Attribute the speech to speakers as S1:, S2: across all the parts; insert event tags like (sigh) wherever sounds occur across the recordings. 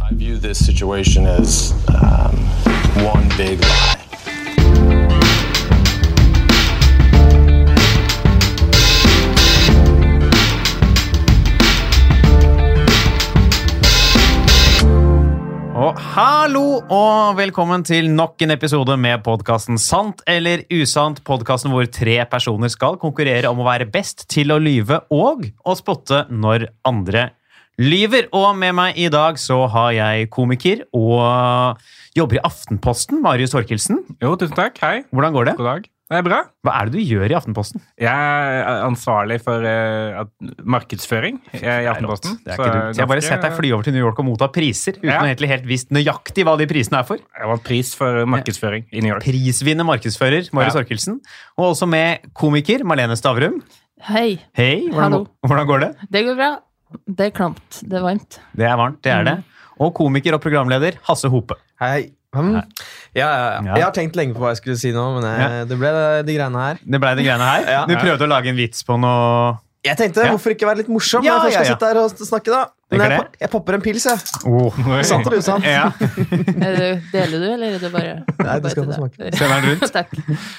S1: I view this situation as um, one big lie.
S2: Og hallo og velkommen til nok en episode med podkasten Sant eller usant. Podkasten hvor tre personer skal konkurrere om å være best til å lyve og å spotte når andre lyver. Og med meg i dag så har jeg komiker og jobber i Aftenposten, Marius Torkelsen.
S3: Jo, tusen takk. Hei.
S2: Hvordan går det?
S3: God dag. Det er bra.
S2: Hva er det du gjør i Aftenposten?
S3: Jeg er ansvarlig for eh, at- markedsføring eh, i Aftenposten. eh,
S2: Det er ikke dumt. Jeg har bare sett deg fly over til New York og motta priser uten
S3: Ja.
S2: å egentlig helt visst nøyaktig hva de prisene er for.
S3: Jeg vant pris for markedsføring i New York.
S2: prisvinnende markedsfører Marius
S3: Ja.
S2: Orkelsen, og også med komiker Marlene Stavrum.
S4: Hei.
S2: Hei, hvordan,
S4: Hallo.
S2: hvordan går det?
S4: Det går bra. Det er klamt. Det er varmt.
S2: Det er varmt, det er det. Og komiker og programleder Hasse Hope.
S5: Hei. Hmm. Ja, ja, ja.
S2: Ja.
S5: Jeg har tenkt lenge på hva jeg skulle si nå, men jeg, det ble eh, de greiene her.
S2: Det blei de greiene her.
S5: (laughs) Ja.
S2: Du prøvde å lage en vits på noe
S5: Jeg tenkte,
S2: Ja.
S5: Hvorfor ikke være litt morsom
S2: Ja,
S5: når jeg først skal
S2: ja, ja.
S5: sitte her og s- snakke, da? Men
S2: Tenker det.
S5: jeg, po- jeg popper en pils, jeg. Sant (laughs)
S3: Sant
S5: eller usant?
S2: Oh. Ja.
S4: Er det, deler du, eller er det bare
S5: Nei, du skal
S4: bare
S5: få
S4: til deg?
S2: Send den rundt.
S4: (laughs) Takk.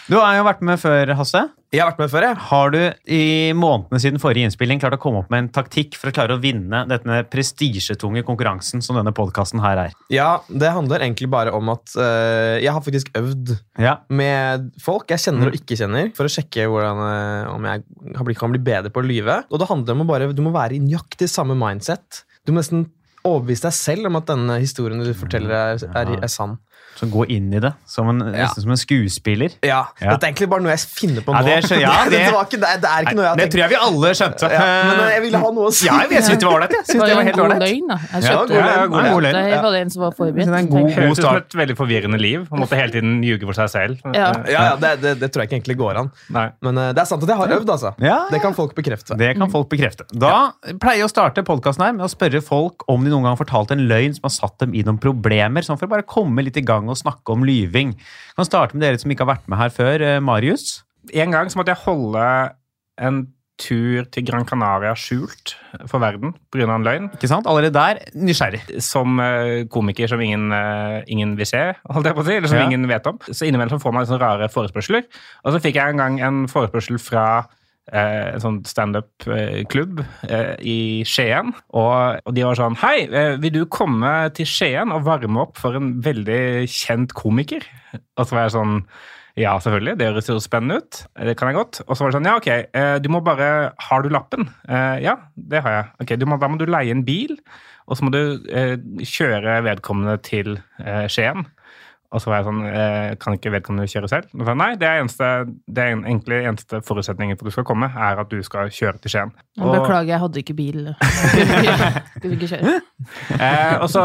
S2: Du har jo vært med før, Hasse.
S5: Jeg har vært med før, jeg.
S2: Har du i månedene siden forrige innspilling klart å komme opp med en taktikk for å klare å vinne denne prestisjetunge konkurransen som denne podkasten her er?
S5: Ja, Det handler egentlig bare om at øh, jeg har faktisk øvd
S2: Ja.
S5: med folk jeg
S2: Mm.
S5: kjenner og ikke kjenner, for å sjekke hvordan, øh, om jeg har blitt- kan bli bedre på å lyve. Og det handler om å bare, Du må være i nøyaktig samme mindset. Du må nesten overbevise deg selv om at denne historien du forteller, er, er, er sann.
S2: Så gå inn i det som en,
S5: Ja.
S2: nesten som en skuespiller.
S5: Ja,
S2: Ja.
S5: Dette er egentlig bare noe jeg finner på nå.
S2: Ja, det skjønner-
S5: (laughs)
S2: ja,
S5: Dette
S2: det-
S5: var ikke, det, det er ikke noe jeg har
S2: det
S5: tenkt
S2: tror jeg vi alle skjønte.
S5: ja, Men eh, jeg ville ha noe å si.
S2: Ja, jeg synes det var ålreit. jeg. Synes
S4: Var
S2: det
S4: det
S2: var
S4: en
S2: helt
S4: god
S2: ålreit.
S4: løgn, da? Jeg
S5: Ja,
S4: skjønte
S5: god
S4: det.
S5: løgn.
S2: Ja, god
S4: Ja,
S2: løgn.
S4: Det var det en som var forberedt.
S2: Det er en
S4: tenkte jeg.
S2: god
S3: Høres ut som
S2: start.
S3: et veldig forvirrende liv. Man måtte hele tiden ljuge for seg selv.
S4: Ja.
S5: Ja, ja, det, det, det tror jeg ikke egentlig går an.
S3: Nei.
S5: Men eh, det er sant at jeg har øvd, altså.
S2: Ja, ja.
S5: Det kan folk bekrefte.
S2: Det kan folk bekrefte. Da pleier jeg å starte podkasten her med å spørre folk om de noen gang har fortalt en løgn som har satt dem i noen problemer, sånn for å bare komme litt i gang og snakke om lyving. Jeg kan starte med dere som ikke har vært med her før. Eh, Marius?
S3: En gang så måtte jeg holde en tur til Gran Canaria skjult for verden pga. en løgn.
S2: Ikke sant? Allerede der, nysgjerrig.
S3: som eh, komiker som ingen, eh, ingen vil se, holdt jeg på å si, eller som
S2: Ja.
S3: ingen vet om. Så innimellom så får man litt sånne rare forespørsler. Og så fikk jeg en gang en forespørsel fra eh, en sånn standup-klubb eh, i Skien. Og, og de var sånn Hei, eh, vil du komme til Skien og varme opp for en veldig kjent komiker? Og så var jeg sånn ja, selvfølgelig. Det høres jo spennende ut. Det kan jeg godt. Og så var det sånn, ja, ok, eh, du må bare Har du lappen? Eh, Ja, det har jeg. Ok, du må, Da må du leie en bil, og så må du eh, kjøre vedkommende til eh, Skien. Og så var jeg sånn eh, Kan ikke vedkommende kjøre selv? Og så, nei, det er, eneste, det er en- egentlig eneste forutsetningen for at du skal komme, er at du skal kjøre til Skien.
S4: Men Beklager, jeg hadde ikke bil. Skulle ikke kjøre.
S3: Eh, og, så,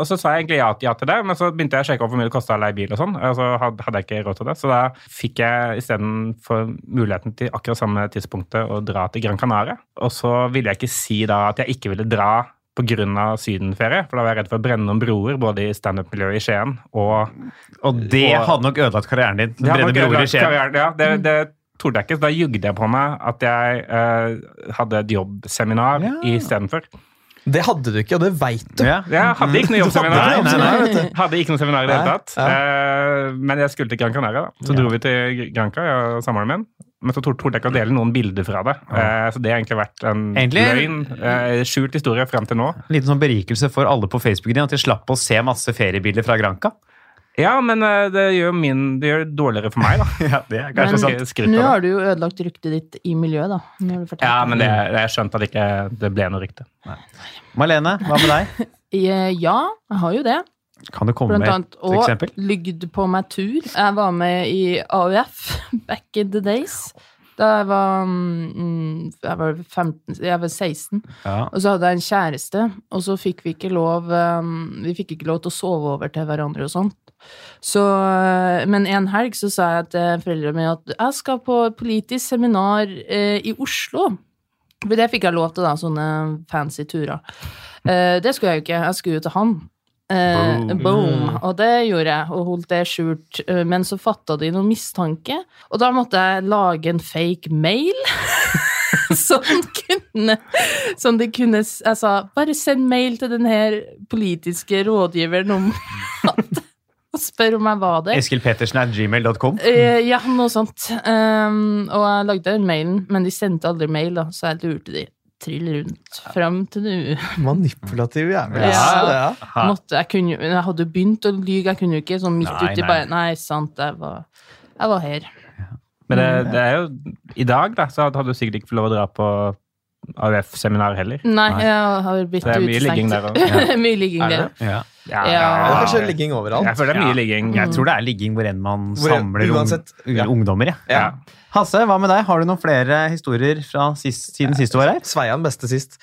S3: og så sa jeg egentlig ja, ja til det, men så begynte jeg å sjekke opp hvor mye det kosta å leie bil, og sånn, og så hadde, hadde jeg ikke råd til det. Så da fikk jeg istedenfor muligheten til akkurat samme tidspunktet å dra til Gran Canaria. Og så ville jeg ikke si da at jeg ikke ville dra pga. sydenferie, for da var jeg redd for å brenne noen broer, både i standup-miljøet i Skien og
S2: Og det
S3: Og-
S2: hadde nok ødelagt karrieren din.
S3: ja,
S2: Brenne
S3: nok
S2: broer i
S3: ødelagt
S2: Skien. Mm.
S3: karrieren, Ja, det, det torde jeg ikke, så da jugde jeg på meg at jeg eh, hadde et jobbseminar
S2: Ja.
S3: istedenfor.
S5: Det hadde du ikke, og det veit du.
S2: Ja.
S3: Jeg hadde ikke noe jobbseminar.
S2: Nei, nei,
S5: nei.
S3: Hadde ikke noe seminar i det hele
S5: Nei,
S3: tatt. Eh, Men jeg skulle til Gran Canaria, da. Så dro vi til Granca, jeg og samboeren min. Men så tor- torde jeg ikke å dele noen bilder fra det. Eh, Så det har egentlig vært en
S2: Egentlig-
S3: løgn. eh, Skjult historie frem til nå.
S2: En liten sånn berikelse for alle på Facebook din, at de slapp å se masse feriebilder fra Granca.
S3: Ja, men eh, det gjør min Det gjør det dårligere for meg, da.
S2: Ja, det er
S3: Kanskje
S4: Men-
S3: sånn skryt av
S4: Nå
S3: det.
S4: har du jo ødelagt ryktet ditt i miljøet, da. Når du
S3: (laughs)
S4: fortalte
S3: Ja, men
S4: det.
S3: det, jeg skjønte at det ikke det ble noe riktig.
S2: Marlene, hva med deg?
S4: Eh, Ja, jeg har jo det.
S2: Kan du komme
S4: Blant
S2: med
S4: annet.
S2: et eksempel?
S4: Og lygd på meg tur. Jeg var med i AUF (laughs) back in the days. Da jeg var, mm, jeg var 15 Jeg var 16.
S2: Ja.
S4: Og så hadde jeg en kjæreste, og så fikk vi ikke lov um, Vi fikk ikke lov til å sove over til hverandre og sånt. Så, øh, men en helg så sa jeg til foreldrene mine at jeg skal på politisk seminar eh, i Oslo. For det fikk jeg lov til, da, sånne fancy turer. Eh, det skulle jeg jo ikke. Jeg skulle jo til han. Eh, boom. Og det gjorde jeg, og holdt det skjult. Eh, Men så fatta de noen mistanke, og da måtte jeg lage en fake mail (laughs) Sånn kunne Sånn det kunne s- Jeg sa bare send mail til den her politiske rådgiveren om at (laughs) Og spør om jeg var der.
S2: Eskil Pettersen er gmail.com.
S4: Eh, ja, noe sånt. Um, og jeg lagde den mailen, men de sendte aldri mail, da, så jeg lurte de trill rundt fram til nå.
S5: Manipulativ jævel.
S4: Ja.
S5: altså, det er.
S2: Ha.
S4: Måtte, jeg, kunne, jo- men jeg hadde jo begynt å lyge, jeg kunne jo ikke sånn midt
S2: Nei,
S4: uti
S2: nei.
S4: bare Nei, sant, jeg var, jeg var her.
S3: Men det, det er jo I dag da, så hadde du sikkert ikke fått lov å dra på AUF-seminar heller.
S4: Nei,
S2: Nei.
S4: jeg har blitt
S3: Så det er mye ligging
S4: utestengt.
S3: der òg.
S4: (laughs) mye ligging
S5: Er det
S4: der.
S5: det?
S2: Ja.
S3: Ja.
S5: Det er kanskje
S3: Jeg
S5: ligging overalt.
S3: føler det er mye
S2: Ja.
S3: ligging.
S2: Jeg tror det er ligging hvor enn man
S5: Hvor en-
S2: samler ung,
S5: uansett, ja.
S2: ungdommer. Ja.
S5: Ja.
S2: Hasse, hva med deg? Har du noen flere historier fra sist, siden sist du var her?
S5: Sveian beste sist.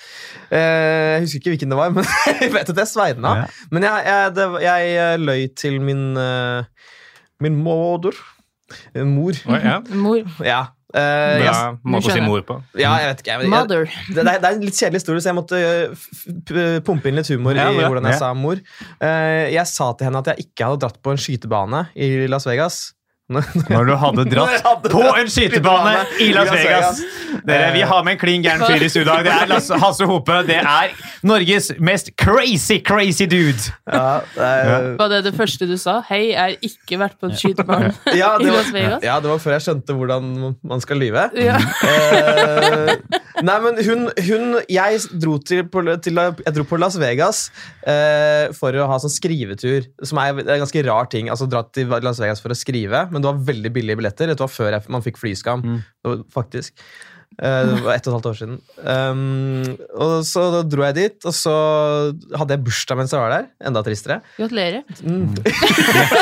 S5: Eh, jeg husker ikke hvilken det var, (laughs) men jeg vet at jeg svei den av.
S2: Ja.
S5: Men jeg, jeg, det, var- jeg eh, løy til min eh, min moder. Eh, Mor.
S3: Oi, ja.
S4: Mor.
S5: Ja. Eh,
S3: Bra
S5: jeg,
S3: måte å si
S4: skjønner.
S3: mor på.
S5: ja, jeg vet ikke. Jeg, jeg,
S4: Mother.
S5: det, det er, det er en litt kjedelig historie, så jeg måtte eh, f- f- pumpe inn litt humor
S3: Ja,
S5: i
S3: bra.
S5: hvordan jeg
S2: Ja.
S5: sa mor. Eh, jeg sa til henne at jeg ikke hadde dratt på en skytebane i Las Vegas.
S2: (laughs) Når du hadde
S5: Når jeg
S2: dratt
S5: hadde
S2: på
S5: dratt
S2: en skytebane i Las Vegas. Dere, vi har med en klin gæren fyr i studio. i dag. Det er Lasse Hasse Hope. Det er Norges mest crazy, crazy dude.
S5: Ja, det er-
S4: Var det det første du sa? Hei, jeg har ikke vært på en skytebane
S5: ja,
S4: i
S5: det
S4: Las
S5: var,
S4: Vegas.
S5: ja, det var før jeg skjønte hvordan man skal lyve.
S4: (laughs) Ja.
S5: Eh, nei, men hun, hun Jeg dro til, på, til Jeg dro på Las Vegas eh, for å ha sånn skrivetur, som er en ganske rar ting. Altså dra til Las Vegas for å skrive, men det var veldig billige billetter. Dette var før jeg, man fikk flyskam, og- faktisk. Eh, det var ett og et halvt år siden. Um, og så da dro jeg dit, og så hadde jeg bursdag mens jeg var der. Enda tristere. (laughs)
S4: Gratulerer.
S5: Mm.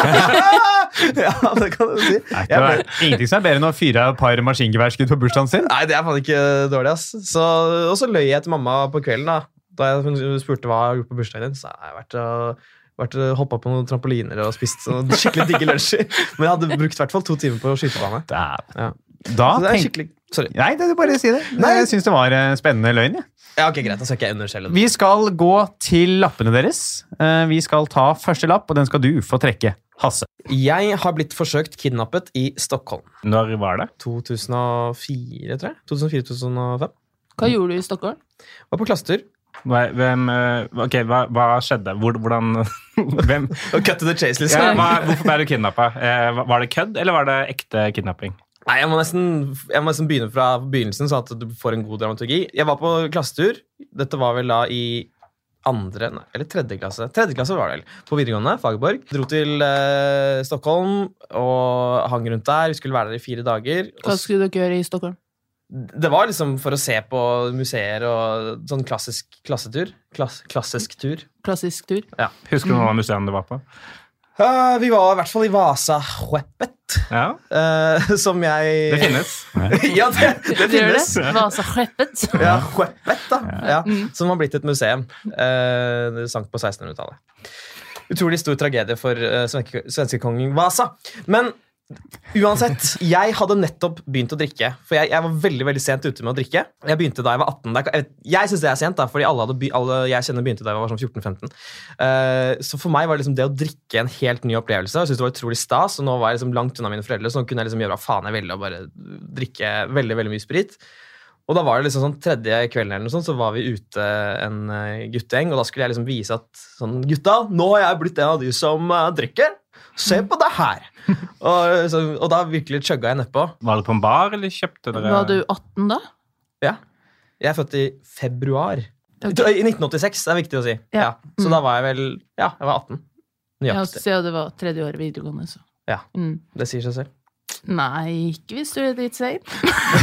S5: ja, det kan du si.
S2: Det
S5: Jeg ble-
S2: er ingenting som er bedre enn å fyre av et par maskingeværskudd på bursdagen sin.
S5: Nei, det er faen ikke dårlig, ass. Så, og så løy jeg til mamma på kvelden, da. Da jeg, hun spurte hva jeg har gjort på bursdagen din, så har jeg vært og vært og hoppa på noen trampoliner og spist
S2: (laughs)
S5: sånn skikkelig digge lunsjer. Men jeg hadde brukt i hvert fall to timer på skytebane.
S2: Dæven.
S5: Ja.
S2: Da
S5: Så det er
S2: tenk...
S5: skikkelig Sorry.
S2: Nei, det er bare å si det.
S5: Nei.
S2: Jeg syns det var eh, spennende løgn. jeg.
S5: Ja, ok, Greit, da skal ikke jeg underskjelle det.
S2: Vi skal gå til lappene deres. Eh, Vi skal ta første lapp, og den skal du få trekke. Hasse.
S5: Jeg har blitt forsøkt kidnappet i Stockholm.
S3: Når var det?
S5: 2004, tror jeg. 2004-2005.
S4: Hva gjorde du i Stockholm?
S5: Var på klassetur.
S3: Hva, hvem, eh, ok, hva, hva skjedde? Hvor, hvordan (laughs) hvem,
S5: Og cut to the chase, liksom.
S3: ja, hva, Hvorfor ble du kidnappa? Var det kødd, eller var det ekte kidnapping?
S5: Nei, jeg må, nesten, jeg må nesten begynne fra begynnelsen, sånn at du får en god dramaturgi. Jeg var på klassetur. Dette var vel da i andre nei, Eller tredje klasse. Tredje klasse var det vel. På videregående. Fagerborg. Dro til eh, Stockholm og hang rundt der. Vi skulle være der i fire dager. Og
S4: Hva
S5: s-
S4: skulle dere gjøre i Stockholm?
S5: det var liksom for å se på museer og sånn klassisk klassetur. Klass, klassisk tur.
S4: Klassisk tur?
S3: Husker du noen av museene du var på?
S5: Eh, vi var i hvert fall i Vasaskeppet,
S3: Ja,
S5: uh, (laughs) som jeg
S3: Det finnes.
S5: (laughs) ja, det, det
S4: Gjør
S5: finnes.
S4: det? Vasaskeppet?
S5: Ja, Huepet, da. Ja. Som har blitt et museum. Eh, det sank på 1600-tallet. Utrolig stor tragedie for eh, svenske, svenskekongen Vasa. Men uansett, jeg hadde nettopp begynt å drikke. For jeg, jeg var veldig veldig sent ute med å drikke. Jeg begynte da jeg var 18. Det er- Jeg, jeg syns det er sent, da, fordi alle, hadde, by- alle jeg kjenner begynte da jeg var sånn 14-15. Eh, så for meg var det liksom det å drikke en helt ny opplevelse. Jeg syntes det var utrolig stas, og nå var jeg liksom langt unna mine foreldre, så nå kunne jeg liksom gjøre hva faen jeg ville og bare drikke veldig, veldig mye sprit. Og da var det liksom sånn tredje kvelden eller noe sånt, så var vi ute en eh, guttegjeng, og da skulle jeg liksom vise at sånn, gutta, nå har jeg blitt en av de som eh, drikker. Se på det (laughs) her! og, så, og da virkelig chugga jeg nedpå.
S3: Var det på en bar, eller kjøpte dere
S4: Var du 18 da?
S5: Ja. Jeg er født i februar.
S4: Ok.
S5: I 1986, det er viktig å si.
S4: Ja.
S5: Ja. Mm. Så da var jeg vel Ja, jeg var 18.
S4: Ja,
S5: Nøyaktig.
S4: siden det var tredje året videregående, så.
S5: Ja.
S4: Mm.
S5: Det sier seg selv.
S4: Nei, ikke hvis du er litt sein.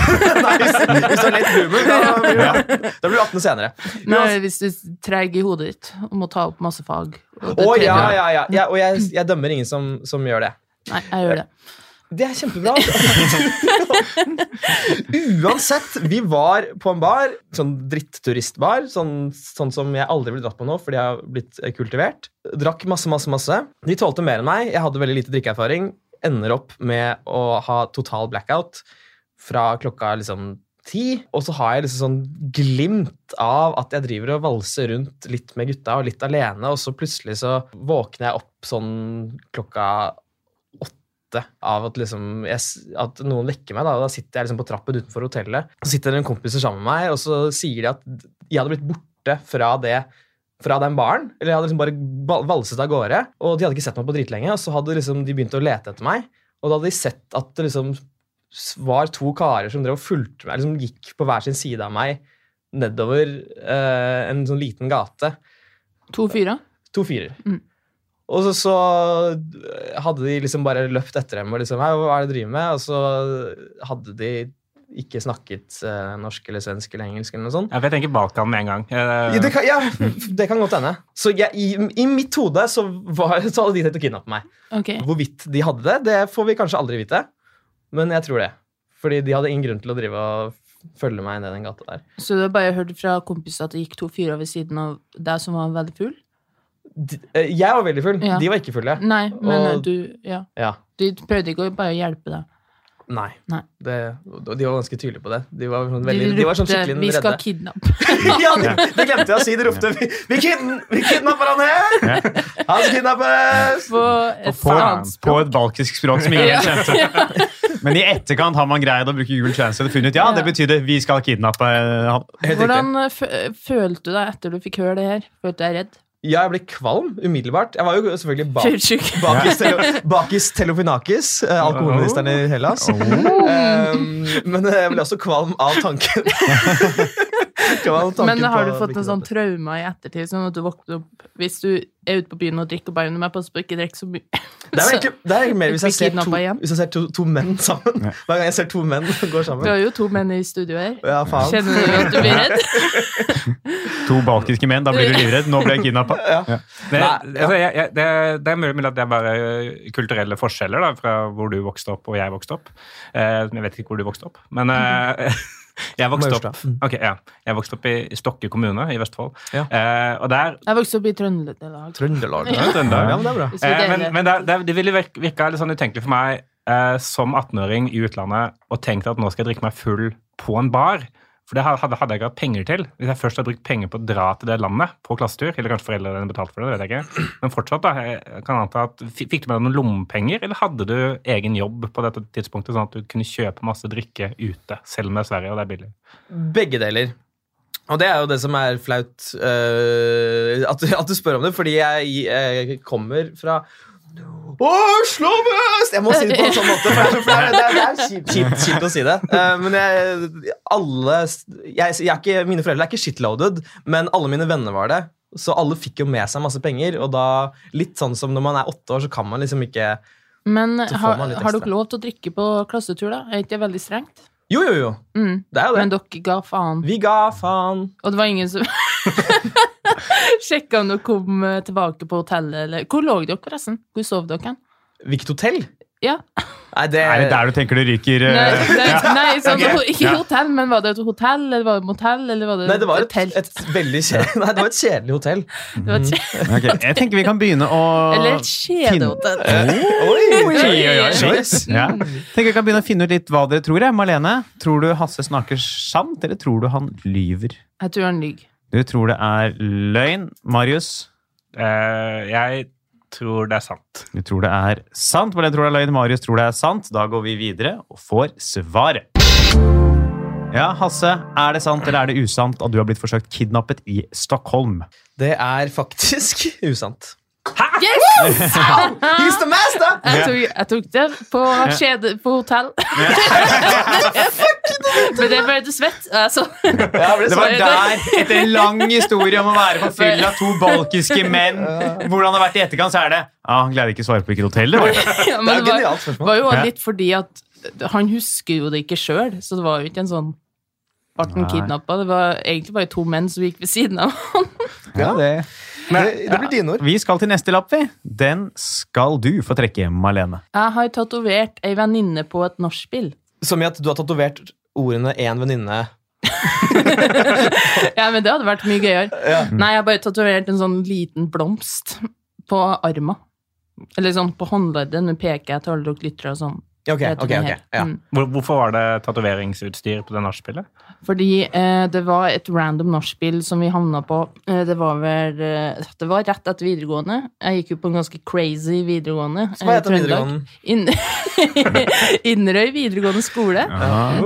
S5: (laughs) Nei, hvis, hvis du er litt boomer, da blir du 18. Da blir du 18 senere.
S4: Nei,
S5: altså-
S4: hvis du er treg i hodet ditt og må ta opp masse fag. og
S5: Å
S4: det tredje
S5: ja,
S4: året.
S5: ja, ja. ja og jeg, jeg dømmer ingen som, som gjør det.
S4: Nei, jeg gjør det.
S5: Det er kjempebra. altså. Uansett, vi var på en bar, sånn dritturistbar, sånn, sånn som jeg aldri ville dratt på nå fordi jeg har blitt eh, kultivert. Drakk masse, masse, masse. De tålte mer enn meg. Jeg hadde veldig lite drikkeerfaring. Ender opp med å ha total blackout fra klokka liksom ti, og så har jeg liksom sånn glimt av at jeg driver og valser rundt litt med gutta og litt alene, og så plutselig så våkner jeg opp sånn klokka svette av at, liksom, jeg, s- at noen vekker meg. Da, da sitter jeg liksom på trappen utenfor hotellet, så sitter det noen kompiser sammen med meg, og så sier de at jeg hadde blitt borte fra det fra den baren, eller jeg hadde liksom bare bal- valset av gårde, og de hadde ikke sett meg på dritlenge, og så hadde liksom de begynt å lete etter meg, og da hadde de sett at det liksom s- var to karer som drev og fulgte meg, liksom gikk på hver sin side av meg nedover eh, en sånn liten gate,
S4: To fyrer.
S5: to fyrer.
S4: Mm.
S5: Og så, så hadde de liksom bare løpt etter dem og liksom Hei, hva er det du driver med? Og så hadde de ikke snakket eh, norsk eller svensk eller engelsk eller noe sånt.
S3: Ja, for Jeg tenker Balkan med en gang. Eh,
S5: Ja, Det kan, ja, det kan godt hende. Så jeg, i, i mitt hode så, var, så hadde de tenkt å kidnappe meg.
S4: Ok.
S5: Hvorvidt de hadde det, det får vi kanskje aldri vite. Men jeg tror det. Fordi de hadde ingen grunn til å drive og følge meg ned den gata der.
S4: Så du har bare hørt fra kompiser at det gikk to fyrer ved siden av deg som var veldig full?
S5: De, eh, jeg var veldig full.
S4: Ja.
S5: De var ikke fulle.
S4: Nei, men
S5: Og-
S4: eh, du Ja.
S5: Ja.
S4: Du prøvde ikke å bare hjelpe deg.
S5: Nei.
S4: Nei.
S5: Det, og de var ganske tydelige på det. De var, sånn
S4: De
S5: veldig, de var sånn
S4: ropte,
S5: skikkelig
S4: 'Vi skal
S5: redde.
S4: kidnappe'. (laughs)
S5: (laughs) ja, det, det glemte jeg å si. De ropte Vi, vi, kidn- vi kidnapper han her! Han skal (laughs) kidnappes!
S4: På et
S2: På,
S4: annet
S2: på
S4: språk.
S2: et balkisk språk som ingen kjente.
S4: (laughs)
S2: Men i etterkant har man greid å bruke Google Translate og funnet ut ja, det betydde vi skal kidnappe han.
S5: Helt riktig.
S4: Hvordan eh, fø- eh, følte du deg etter du fikk høre det her? Følte du deg redd?
S5: Ja, jeg ble kvalm umiddelbart. Jeg var jo selvfølgelig bak (laughs)
S4: Fyllesyk?
S5: Bakis, telo, bakis Telofinakis, eh, alkoholministeren i Hellas. Um, men eh, jeg ble også kvalm av (laughs) tanken. Kvalm av tanken
S4: Men har du
S5: på
S4: fått en
S5: hvilken
S4: sånn
S5: måte.
S4: traume i ettertid? Sånn at du våkner opp Hvis du er ute på byen og drikker og bare men jeg passer på å ikke drikke (laughs) så mye.
S5: Det er, vel egentlig, det er egentlig mer hvis jeg
S4: Blir
S5: ser to,
S4: kidnappa igjen?
S5: hvis jeg ser to, to menn sammen. Hver gang jeg ser to menn (laughs) går
S4: Du
S5: sammen.
S4: har jo to menn i studio her.
S5: Ja, faen.
S4: Kjenner du at du blir
S5: (laughs)
S4: redd?
S2: To balkiske menn, da blir du livredd. Nå ble jeg kidnappa.
S3: det,
S5: Nei,
S3: altså, jeg, jeg, det, det er mulig mulig at det er bare eh, kulturelle forskjeller da, fra hvor du vokste opp og jeg vokste opp. Eh, jeg vet ikke hvor du vokste opp, men eh, (laughs) jeg, vokste opp,
S5: Maurstad. Mm.
S3: Ok, ja. jeg vokste opp i i Stokke kommune i Vestfold.
S5: Ja.
S3: Eh, og der
S4: Jeg vokste opp i Trøndelag.
S5: Trøndelag.
S3: Ja, Trøndelag.
S5: Ja, men det er bra.
S4: Hvis vi
S3: Eh,
S4: deler-
S3: men men det, det, det ville virk- virka litt sånn utenkelig for meg eh, som 18-åring i utlandet å tenke at nå skal jeg drikke meg full på en bar. For det hadde, hadde jeg ikke hatt penger til. Hvis jeg først hadde brukt penger på å dra til det landet på klassetur, eller kanskje foreldrene dine betalte for det, det vet jeg ikke. Men fortsatt, da, jeg kan anta at fi- fikk du med deg noen lommepenger, eller hadde du egen jobb på dette tidspunktet, sånn at du kunne kjøpe masse drikke ute, selv om det er Sverige og det er billig?
S5: Begge deler. Og det er jo det som er flaut eh, at, at du spør om det, fordi jeg eh, kommer fra Oslo vest! Jeg må si det på en sånn måte, for det er, så- for det er, det er, det er kjipt, kjipt, kjipt å si det. Eh, men jeg, alle jeg, jeg er ikke, Mine foreldre er ikke shitloaded, men alle mine venner var det. Så alle fikk jo med seg masse penger, og da litt sånn som når man er åtte år, så kan man liksom ikke
S4: Men
S5: Så får
S4: har,
S5: man litt
S4: har
S5: ekstra.
S4: dere lov til å drikke på klassetur, da? Er ikke det veldig strengt?
S5: Jo, jo, jo.
S4: Mm.
S5: Det er jo
S4: Men
S5: det.
S4: dere ga faen.
S5: Vi ga faen.
S4: Og det var ingen som (laughs) sjekka om dere kom eh, tilbake på hotellet, eller Hvor lå dere, forresten? Hvor sov dere? hen?
S5: Hvilket hotell?
S4: Ja.
S5: Nei, det,
S2: Er det der du tenker det ryker?
S4: Nei,
S2: eh,
S4: nei, nei sånn,
S2: Ok.
S4: ho- (laughs) ikke
S2: Ja.
S4: hotell, men var det et hotell, eller var det et motell, eller var det,
S5: Nei, det var et,
S4: telt?
S5: et veldig kjedelig, (laughs) nei, det var et kjedelig hotell.
S4: Det var et kje-
S2: ok. Jeg tenker vi kan begynne å
S4: (laughs) eller et kjedehotell.
S5: Eh. Oi!
S2: Oi, oi, oi.
S5: Choice.
S2: Ja. Tenker vi kan begynne å finne ut litt hva dere tror. Jeg. Malene, tror du Hasse snakker sant, eller tror du han lyver?
S4: Jeg tror han lyver.
S2: Du tror det er løgn. Marius,
S3: Eh, jeg tror det er sant.
S2: du tror det er sant. Malene tror det er løgn. Marius tror det er sant. Da går vi videre og får svaret. Ja, Hasse, er det sant eller er det usant at du har blitt forsøkt kidnappet i Stockholm?
S5: Det er faktisk (laughs) usant.
S4: Yes!
S2: (laughs)
S4: Ah.
S5: He's the master!
S4: Jeg tok, jeg tok det på kjede på hotell. (laughs) Men det ble du svett. altså. og jeg så-
S5: Ja, ble
S2: Det var
S5: sånn.
S2: der, etter en lang historie om å være på fyll av to balkiske menn, hvordan det har vært i etterkant, så er det Ja, han greide ikke å svare på hvilket hotell det var.
S4: Ja,
S5: Det er
S4: men
S5: et
S4: det var,
S5: genialt spørsmål.
S4: var jo
S2: Ja.
S4: litt fordi at han husker jo det ikke sjøl, så det var jo ikke en sånn Ble han
S2: Nei.
S4: kidnappa? Det var egentlig bare to menn som gikk ved siden av (laughs) han.
S5: Ja, det, det blir dine ord.
S2: Vi skal til neste lapp, vi. Den skal du få trekke, Malene.
S4: Jeg har tatovert ei venninne på et nachspiel.
S5: Som i at du har tatovert ordene 'én venninne'.
S4: Ja, men det hadde vært mye gøyere. Nei, jeg har bare tatovert en sånn liten blomst på arma. Eller sånn på håndleddet. Nå peker jeg til alle dere lyttere og sånn.
S5: Ja, ok,
S4: heter
S5: ok,
S4: den
S5: ok.
S4: her.
S5: Ja.
S4: Mm.
S3: Hvor, hvorfor var det tatoveringsutstyr på det nachspielet?
S4: Fordi eh, det var et random nachspiel som vi havna på. Eh, det var vel eh, Det var rett etter videregående. Jeg gikk jo på en ganske crazy videregående.
S5: Så hva
S4: eh,
S5: heter
S4: Trøndelag.
S5: videregående?
S4: Inn- (laughs) Inderøy videregående skole.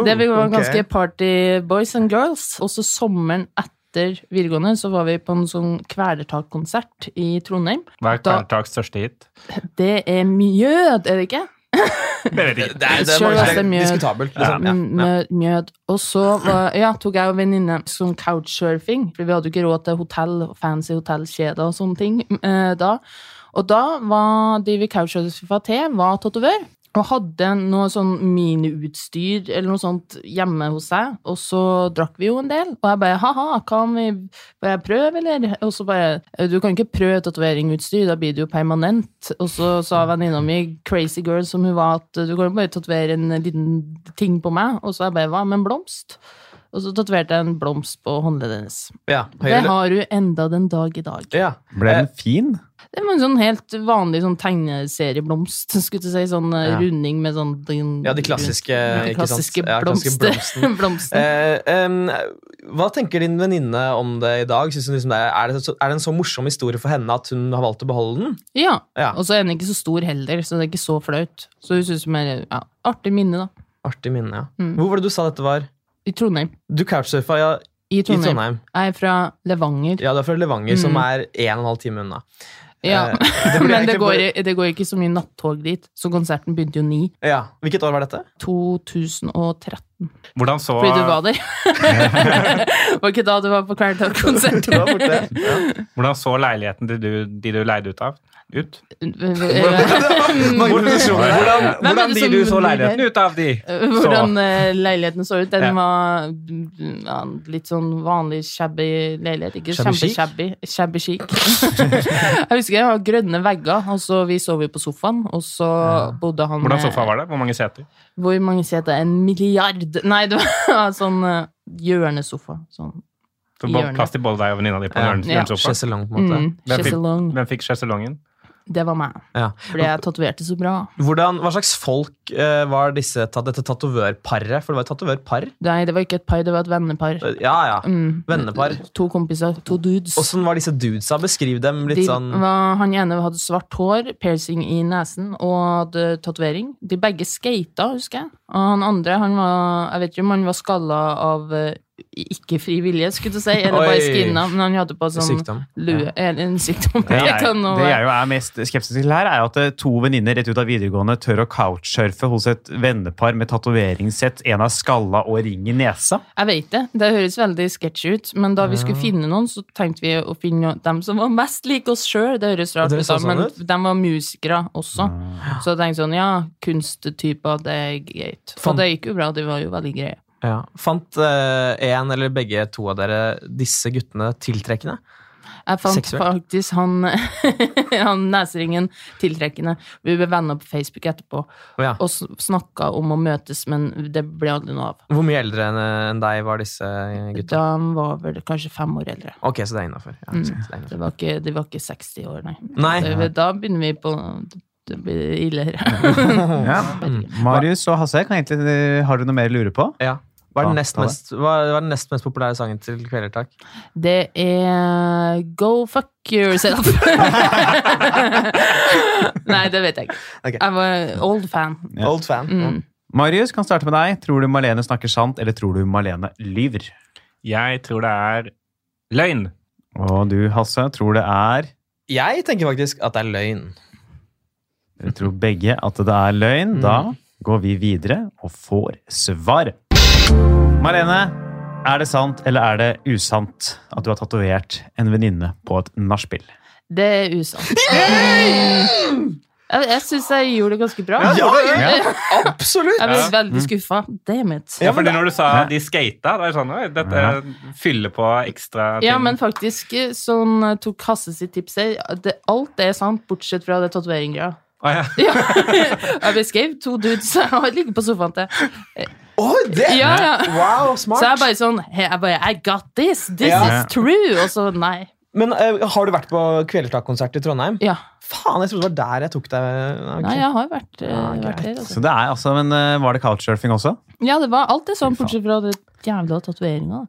S4: Det vi var
S5: ok.
S4: ganske party boys and girls. Også sommeren etter videregående så var vi på en sånn kvelertak-konsert i Trondheim.
S3: Hva er
S4: Da-
S3: Kvelertaks største hit?
S4: Det er mjød, er det ikke?
S3: Det vet jeg
S5: Det
S3: ikke.
S5: er, det er,
S4: Sure,
S5: bare- det
S4: det er
S5: er
S4: mye-
S5: diskutabelt. Liksom. Ja. Ja.
S4: Mjød, mjød. Og så var, ja, tok jeg og venninne sånn couchsurfing, for vi hadde jo ikke råd til hotell, fancy hotellkjeder og sånne ting eh, da. Og da var de vi couchsurfa til, var tatovør, og hadde noe sånn miniutstyr eller noe sånt hjemme hos seg, og så drakk vi jo en del, og jeg bare, haha, kan vi bare prøve, eller? Og så bare, «Eh, du kan ikke prøve tatoveringutstyr, da blir det jo permanent. Og så sa venninna mi, crazy girl som hun var, at du kan jo bare tatovere en liten ting på meg, og så jeg bare, hva med en blomst? Og så tatoverte jeg en blomst på håndleddet hennes.
S5: Ja.
S4: Det
S5: Høyre, eller-
S4: har hun enda den dag i dag.
S5: ja.
S2: Ble
S5: Eh,
S2: den fin?
S4: Det var en sånn helt vanlig sånn tegneserieblomst, skulle du si, sånn eh,
S5: Ja.
S4: runding med sånn...
S5: Eh, ja, de klassiske,
S4: de
S5: ikke sant?
S4: klassiske
S5: Ja, klassiske blomsten.
S4: blomster. (laughs) blomsten.
S5: Eh, em, hva tenker din venninne om det i dag? Synes hun liksom det er, er, det så, er det en så morsom historie for henne at hun har valgt å beholde den?
S4: Ja,
S5: Ja.
S4: og så er den ikke så stor heller, så det er ikke så flaut. Så hun synes det er ja, artig minne, da.
S5: Artig minne, ja.
S4: Mm.
S5: Hvor var det du sa dette var?
S4: I Trondheim.
S5: Du couchsurfa ja,
S4: I
S5: i
S4: Trondheim.
S5: Trondheim.
S4: Jeg er fra Levanger.
S5: Ja, du er fra Levanger, som
S4: Mm.
S5: er en og en halv time unna.
S4: Ja,
S5: Eh,
S4: (laughs)
S5: det blir
S4: Men det
S5: egentlig
S4: går,
S5: bare-
S4: i- det går ikke så mye nattog dit, så konserten begynte jo ni.
S5: Ja. Hvilket år var dette?
S4: 2013.
S3: Hvordan så
S4: Fordi du var
S5: (laughs)
S4: der. (laughs) var ikke da du var på Kvelertak-konsert?
S5: Du var (laughs) borte. Ja.
S3: Hvordan så leiligheten til du, de du leide ut av? Ut?
S5: Hvordan, hvordan,
S4: Hvem er
S3: Hvordan
S4: det
S3: de
S4: som
S3: du så
S4: bor
S3: leiligheten
S4: der?
S3: ut av, de?
S4: Hvordan eh, leiligheten så ut. Den
S3: Ja.
S4: var mm, ja, litt sånn vanlig shabby leilighet. Ikke
S5: Shabby chic?
S4: kjempe-shabby. Shabby chic. (laughs) jeg husker jeg har grønne vegger, og så vi sov jo på sofaen, og så bodde han eh,
S3: Hvordan sofa var det? Hvor mange seter?
S4: Hvor mange seter? En milliard? (laughs) Nei, det var sånn eh, hjørnesofa. Sånn.
S3: Så bo-
S4: Hjørnet.
S3: Plass til både deg og venninna di på
S5: Ja.
S3: en
S4: Ja.
S5: så
S3: hjørnesofa.
S5: Sjeselong, på en måte.
S4: Mm,
S3: Det er fint.
S4: Chaiselong.
S3: Hvem fikk sjeselongen?
S4: Det var meg.
S5: Ja.
S4: Fordi jeg tatoverte så bra.
S5: Hvordan, hva slags folk eh, var disse, ta- dette tatovørparet? For det var et tatovørpar.
S4: Nei, det var ikke et par, det var et vennepar.
S5: Eh, Ja, ja.
S4: Mm.
S5: Vennepar.
S4: To kompiser. To dudes.
S5: Åssen var disse dudesa? Beskriv dem litt
S4: de,
S5: sånn
S4: var, han ene hadde svart hår, piercing i nesen og hadde tatovering. De begge skata, husker jeg. Og han andre, han var Jeg vet ikke om han var skalla av eh, ikke fri vilje, skulle du si, eller
S5: Oi.
S4: bare skinna, men han hadde på sånn
S5: sykdom.
S4: lue eller En sykdom.
S2: Det jeg,
S4: (laughs) Det kan nå
S2: det jeg
S4: være.
S2: jo er mest skeptisk til her, er jo at eh, to venninner rett ut av videregående tør å couchsurfe hos et vennepar med tatoveringssett, en av skalla og ring i nesa.
S4: Jeg vet det. Det høres veldig sketchy ut, men da vi skulle finne noen, så tenkte vi å finne dem som var mest like oss sjøl. Det høres rart
S5: Ja, det
S4: ut, da,
S5: så sånn
S4: men
S5: ut. Ah.
S4: de var musikere også. Så jeg tenkte sånn, ja, kunsttyper, det er greit.
S5: Fan.
S4: Og det gikk jo bra, de var jo veldig greie.
S5: Ja. Fant én eller begge to av dere disse guttene tiltrekkende?
S4: Jeg fant
S5: Seksuelt?
S4: faktisk han, (laughs) han neseringen tiltrekkende. Vi ble venner på Facebook etterpå
S5: Å ja.
S4: og snakka om å møtes, men det ble aldri noe av.
S5: Hvor mye eldre enn enn deg var disse gutta?
S4: Da var vel kanskje fem år eldre.
S5: Ok, så det er innafor. Ja, ikke sant,
S4: Mm.
S5: det er
S4: Det
S5: innenfor.
S4: var ikke, de var ikke 60 år, nei.
S5: Nei.
S4: Det, da begynner vi på Det blir ille (laughs) her.
S2: Mm. Marius og Hasse, kan egentlig, eh, har du noe mer å lure på?
S5: Ja. Hva er den
S2: Ja,
S5: nest
S2: ta det.
S5: mest, hva hva er den nest mest populære sangen til Kvelertak?
S4: Det er Go fuck yourself. (laughs) nei, det vet jeg ikke.
S5: Ok.
S4: Jeg var old fan.
S2: Ja.
S5: Old fan.
S4: Mm.
S2: Marius kan starte med deg. Tror du Malene snakker sant, eller tror du Malene lyver?
S3: Jeg tror det er løgn.
S2: Og du, Hasse, tror det er
S5: Jeg tenker faktisk at det er løgn.
S2: Dere tror begge at det er løgn. Da går vi videre og får svar. Marlene, er det sant eller er det usant at du har tatovert en venninne på et nachspiel?
S4: Det er usant. Jeg, jeg syns jeg gjorde det ganske bra.
S2: ja.
S5: absolutt!
S4: Jeg ble
S3: Ja.
S4: veldig skuffa. Damn it.
S5: Ja,
S3: Ja,
S5: men
S3: fordi
S5: det-
S3: når du sa de skata, det er sånn Oi, dette
S2: Ja.
S3: fyller på ekstra ting.
S4: Ja, men faktisk sånn eh, tok Hasse sitt tips her. Det, alt er sant, bortsett fra det tatoveringa.
S3: Å, ja.
S4: Ja. (laughs) Jeg beskrev to dudes og ligger på sofaen til.
S5: Å, det!
S4: Ja, ja.
S5: Wow,
S4: Så
S5: smart!
S4: jeg bare sånn hey, jeg bare, I got this! This
S5: Ja.
S4: is true! Og så nei.
S5: Men eh, har du vært på Kvelertak-konsert i Trondheim?
S4: Ja.
S5: Faen, jeg trodde det var der jeg tok deg. eh, Nei,
S4: Nei, jeg har vært, eh,
S5: Ja, greit.
S4: vært her. Altså.
S2: Så det er altså, men eh, Var det couchsurfing også?
S4: Ja, det var alt det sånn,
S2: Fy faen.
S4: bortsett fra det jævla tatoveringa.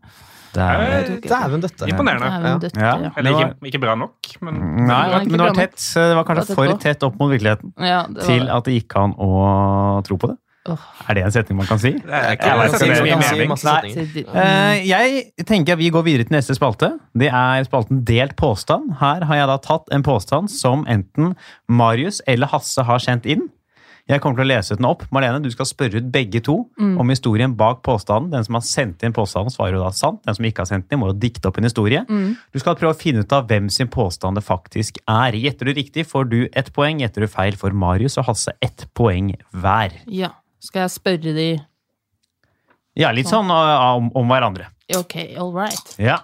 S2: Det er,
S3: Eh,
S5: Dæven døtte.
S3: Imponerende.
S5: Ja.
S4: Døtter,
S2: Ja.
S4: ja.
S3: Eller
S2: Det
S3: ikke, ikke bra nok, men
S2: nei, det var ikke- men det var tett. så Det var kanskje
S4: Det var
S2: for
S4: tett på.
S2: tett opp mot virkeligheten
S4: Ja, det var,
S2: til at det gikk an å tro på det.
S4: Åh.
S2: Er det en setning man kan si?
S3: det er
S2: Jeg vet
S3: ikke det
S5: Jeg kan
S3: er
S5: si-
S3: ikke
S5: jeg
S3: det
S5: kan
S3: mye
S5: si
S3: mening.
S5: masse
S2: Nei.
S5: setninger.
S2: Eh, jeg tenker at vi går videre til neste spalte. Det er spalten Delt påstand. Her har jeg da tatt en påstand som enten Marius eller Hasse har sendt inn. Jeg kommer til å lese den opp. Marlene, du skal spørre ut begge to om historien bak påstanden. Den som har sendt inn påstanden, svarer jo da sant. Den som ikke har sendt den inn, må jo dikte opp en historie. Du skal prøve å finne ut av hvem sin påstand det faktisk er. Gjetter du riktig, får du ett poeng. Gjetter du feil, får Marius og Hasse ett poeng hver.
S4: ja. Skal jeg spørre de
S2: Ja, litt sånn eh, om, om hverandre.
S4: Ok, all right.
S2: Ja.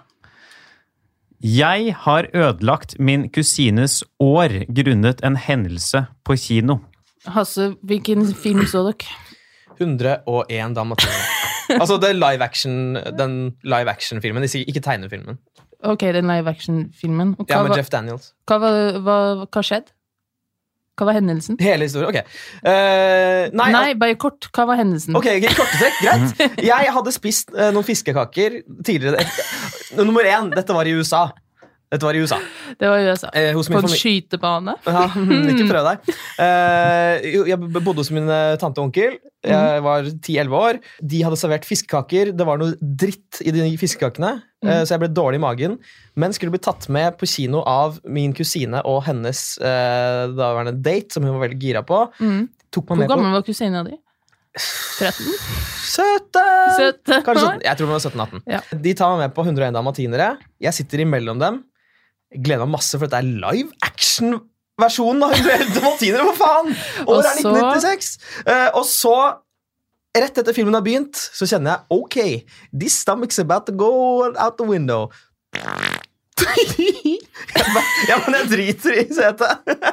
S2: Jeg har ødelagt min kusines år grunnet en hendelse på kino.
S4: Hasse, hvilken film så dere?
S5: 101 dalmatiner. altså det er live action, den live action-filmen, ikke- ikke tegnefilmen.
S4: Ok, den live action-filmen. Og
S5: Ja,
S4: Hva,
S5: med
S4: var-
S5: Jeff Daniels.
S4: hva, var- hva, hva skjedde? Hva var hendelsen?
S5: Hele historien. Ok. Eh, nei,
S4: Nei, bare kort. Hva var hendelsen?
S5: Ok, ok, korte trekk,
S4: (laughs)
S5: greit. Jeg hadde spist eh, noen fiskekaker tidligere. Et- Nummer én, dette var i USA. Dette var i USA.
S4: Det var i USA.
S5: Eh, hos min
S4: På en
S5: familie.
S4: skytebane? (laughs)
S5: Ja, mm, ikke prøv deg. Eh, jo, jeg b- bodde hos min eh, tante og onkel. Jeg
S4: Mhm.
S5: var 10-11 år. De hadde servert fiskekaker. Det var noe dritt i de fiskekakene,
S4: Mhm.
S5: eh, så jeg ble dårlig i magen. Men skulle bli tatt med på kino av min kusine og hennes eh, daværende date, som hun var veldig gira på.
S4: Mm.
S5: Tok
S4: Hvor
S5: meg med på
S4: gammel var kusina di? 13?
S3: Eh,
S5: 17!
S4: 17?
S5: Kanskje
S4: (laughs)
S5: sånn, jeg tror det var 17-18.
S4: Ja.
S5: De tar meg med på 101 dalmatinere. Jeg sitter imellom dem. Gleder meg masse, for dette er live action-versjonen av 101 dalmatinere! Hva
S4: (laughs)
S5: faen?! Året er
S4: Og så-
S5: 1996! Eh, og så Rett etter filmen har begynt, så kjenner jeg OK, this stomach's about to go out the window. (laughs) jeg, bare, ja, men jeg driter i setet. (laughs)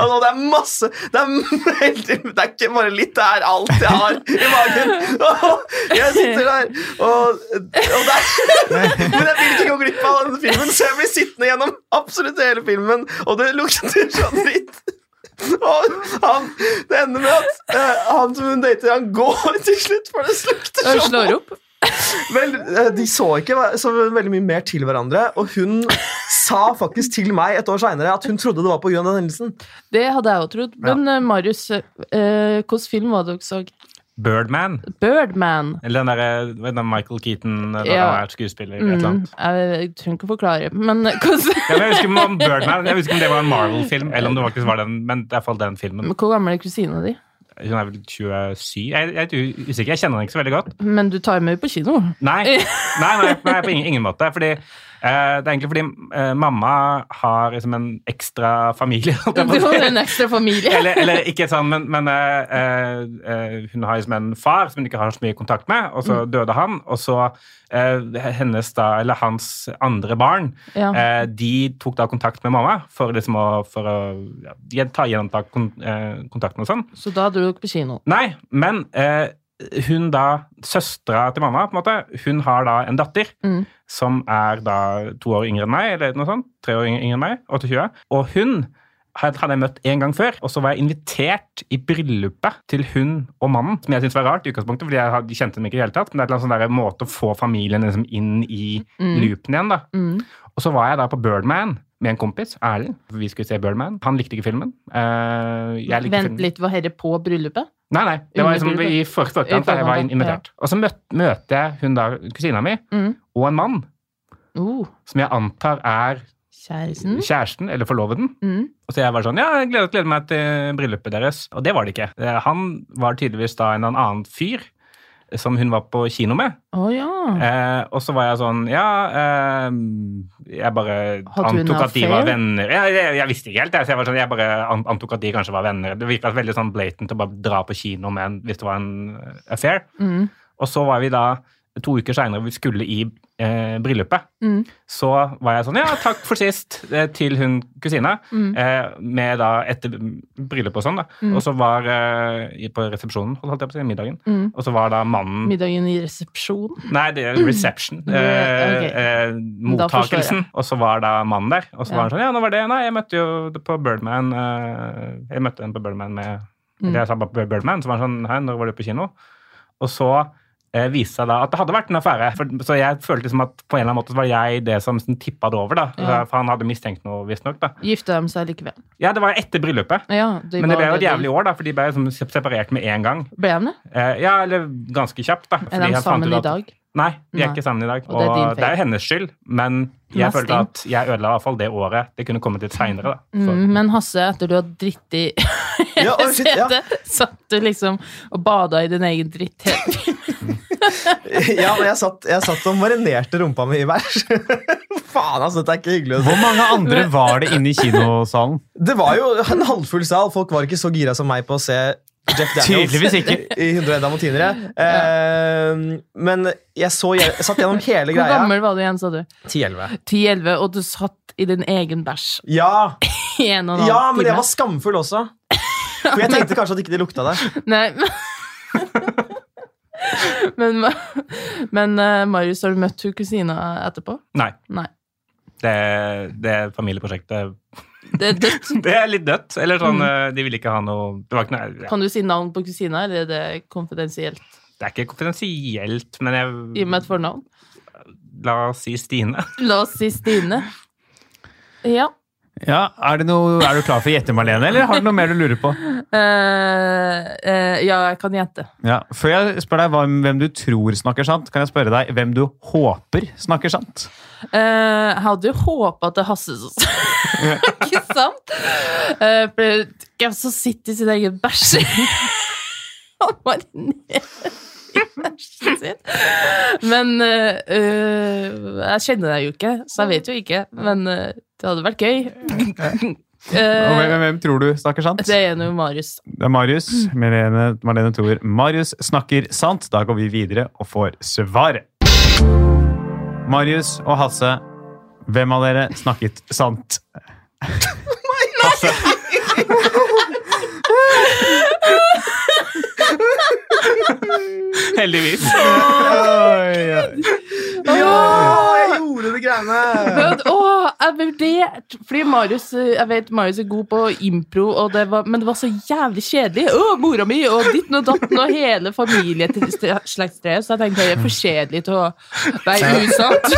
S5: altså, det er masse Det er, helt, det er ikke bare litt, det er alt jeg har i magen. (laughs) Og jeg sitter der, og, og det er, (laughs) Men jeg vil ikke gå glipp av den filmen, så jeg blir sittende gjennom absolutt hele filmen, og det lukter (laughs) så dritt. Og han, det ender med at eh, han som hun dater, han går til slutt, for det lukter
S4: Og
S5: så
S4: slår opp?
S5: Vel, eh, de så ikke hva- så veldig mye mer til hverandre, og (laughs) hun sa faktisk til meg et år seinere at hun trodde det var på grunn av den hendelsen.
S4: Det hadde jeg jo trodd. Men eh, Marius, eh, eh, hvilken film var det dere så?
S3: Birdman.
S4: Birdman.
S3: Eller den derre hva er den Michael Keaton, når
S4: Ja.
S3: han er skuespiller. Et eller
S4: Mm,
S3: annet.
S4: jeg, jeg trenger ikke å forklare, men eh, hvordan
S3: Ja, men jeg, husker om det var Birdman. jeg husker om det var en Marvel-film, eller om det faktisk var den, men det er i hvert fall den filmen.
S4: Men Hvor gammel er kusina di?
S3: Hun er vel 27? Jeg, jeg er u- usikker, jeg kjenner henne ikke så veldig godt.
S4: Men du tar med henne på kino. (laughs)
S3: Nei, nei, nei, nei på ingen, ingen måte. Fordi, eh, det er egentlig fordi eh, mamma har liksom en ekstra familie. holdt
S4: Du
S3: jeg på å si.
S4: har en ekstra familie.
S3: eller, eller ikke sånn, men, men eh, eh, hun har liksom en far som hun ikke har så mye kontakt med, og så døde han, og så eh, hennes da, eller hans andre barn,
S4: Ja.
S3: eh, de tok da kontakt med mamma for liksom å, for å ja, gjen- ta gjenta kon, eh, kontakten og sånn.
S4: Så da dro dere på kino.
S3: Nei, men eh, hun da, søstera til mamma, på en måte, hun har da en datter
S4: Mm.
S3: som er da to år yngre enn meg, eller noe sånt, tre år yngre enn meg, 28. Og hun had- hadde jeg møtt en gang før, og så var jeg invitert i bryllupet til hun og mannen, som jeg syntes var rart i utgangspunktet, fordi jeg had- kjente dem ikke i det hele tatt, men det er et eller annet sånn der måte å få familien liksom inn i loopen igjen, da.
S4: Mm.
S3: Og så var jeg da på Birdman med en kompis, Erlend. Vi skulle se Birdman. Han likte ikke filmen. Eh, jeg likte
S4: Vent
S3: filmen.
S4: litt, var dette på bryllupet?
S3: Nei, nei. Det var
S4: Under
S3: liksom
S4: bryllupet.
S3: i for- forkant. da, Jeg var
S4: forkant,
S3: invitert. Og så møt, møter jeg hun da, kusina mi,
S4: Mm.
S3: og en mann
S4: Oh,
S3: som jeg antar er
S4: kjæresten.
S3: kjæresten eller forloveden.
S4: Mm.
S3: Og så jeg var sånn Ja, jeg gleder, gleder meg til bryllupet deres. Og det var det ikke. Eh, Han var tydeligvis da en eller annen fyr eh, som hun var på kino med.
S4: Å ja.
S3: Eh, og så var jeg sånn Ja, eh, jeg bare
S4: Hadde hun
S3: antok at de
S4: affære?
S3: var venner. Jeg, jeg, jeg visste ikke helt, jeg, så jeg, var sånn, jeg bare an- antok at de kanskje var venner. Det virka veldig sånn blatant å bare dra på kino med en hvis det var en eh, affair.
S4: Mm.
S3: Og så var vi da to uker seinere vi skulle i eh, bryllupet,
S4: Mm.
S3: så var jeg sånn Ja, takk for sist! eh, Til hun kusina. Eh, med da etter bryllupet og sånn, da. Og så var eh, i- På resepsjonen, holdt jeg på å si, middagen. Og så var da mannen
S4: Middagen i resepsjonen.
S3: Nei, det er reception.
S4: Mm. Det-
S3: Eh,
S4: ok.
S3: eh,
S4: Da forstår jeg.
S3: mottakelsen. Og så var da mannen der. Og så
S4: Ja.
S3: var han sånn Ja, nå var det Nei, jeg møtte jo det på Birdman eh, Jeg møtte en på Birdman med
S4: Mm.
S3: Eller jeg sa bare Birdman, så var han sånn Hei, når var du på kino? Og så eh, viste det seg da at det hadde vært en affære. For, så jeg følte liksom at på en eller annen måte så var jeg det som sånn, tippa det over, da.
S4: Ja.
S3: For han hadde mistenkt noe, visstnok. da.
S4: Gifta de seg likevel?
S3: Ja, det var etter bryllupet.
S4: Ja, de
S3: Men det
S4: var
S3: ble jo et
S4: de-
S3: jævlig år, da, for de ble liksom separert med en gang.
S4: Ble de det?
S3: Eh, ja, eller ganske kjapt, da. fordi
S4: Er de
S3: han fant
S4: sammen
S3: ut
S4: i
S3: at-
S4: dag?
S3: Nei, vi er
S4: Nei.
S3: ikke sammen i dag.
S4: Og det er
S3: Og
S4: din feil.
S3: det er jo hennes skyld, men jeg
S4: Mest
S3: følte at jeg ødela i hvert fall det året. Det kunne kommet litt seinere, da. Så.
S4: Mm, men Hasse, etter du har dritt i (laughs)
S5: Ja, oh, shit, ja.
S4: setet, satt du liksom og bada i din egen
S5: (laughs)
S4: dritt.
S5: ja, men jeg satt, jeg satt og marinerte rumpa mi i bæsj. (laughs) Faen, altså, dette er ikke hyggelig å si.
S2: Hvor mange andre var det inne i kinosalen?
S5: Det var jo en halvfull sal. Folk var ikke så gira som meg på å se Jeff Daniels
S2: Tydeligvis ikke.
S5: (laughs) i 101 dalmatinere. Eh, men jeg, så, jeg satt gjennom hele
S4: Hvor
S5: greia.
S4: gammel var du igjen, sa du?
S5: 10-11.
S4: 10-11, og du satt i din egen bæsj
S5: Ja,
S4: i en og en halv
S5: ja, men jeg
S4: time.
S5: var skamfull også.
S4: (laughs)
S5: For jeg tenkte kanskje at ikke det lukta der.
S4: Nei, men... (laughs) Men, men eh, Marius, har du møtt hun kusina etterpå?
S3: Nei.
S4: Nei.
S3: Det, det familieprosjektet
S4: Det er dødt.
S3: Det er litt dødt. Eller sånn
S4: Mm.
S3: eh, De ville ikke ha noe Det, var ikke noe,
S4: Kan du si navn på kusina, eller er det konfidensielt?
S3: det er ikke konfidensielt, men
S4: Gi
S3: jeg
S4: meg et fornavn.
S3: La oss si Stine. (laughs)
S4: La oss si Stine. Ja.
S2: Ja, er, det noe, er du klar for å gjette, Marlene, eller har du noe mer du lurer på?
S4: Eh, eh, ja, jeg kan gjette.
S2: Ja. Før jeg spør deg hva- hvem du tror snakker sant, kan jeg spørre deg hvem du håper snakker sant?
S4: Eh, jeg hadde jo håpa at det er Hasse som (laughs) Ikke sant? Eh, for det er jo hvem som sitter i sin egen (laughs) bæsj Han marinerer i bæsjen sin. Men eh, eh, jeg kjenner deg jo ikke, så jeg vet jo ikke. Men eh, det hadde vært gøy.
S2: Og hvem,
S4: Eh,
S2: hvem- hvem tror du snakker sant?
S4: det er jo Marius.
S2: Det er Marius. Marlene, Marlene tror Marius snakker sant. Da går vi videre og får svaret. Marius og Hasse, hvem av dere snakket sant?
S3: Altså,
S4: (laughs)
S3: heldigvis.
S5: Ja, jeg gjorde de greiene!
S4: Men, åh, jeg vurderte Fordi Marius, eh, jeg vet Marius er god på impro, og det var, men det var så jævlig kjedelig. Å, mora mi, og ditten og datten og hele familieslektstreet. Så jeg tenkte det er for kjedelig til å være usant.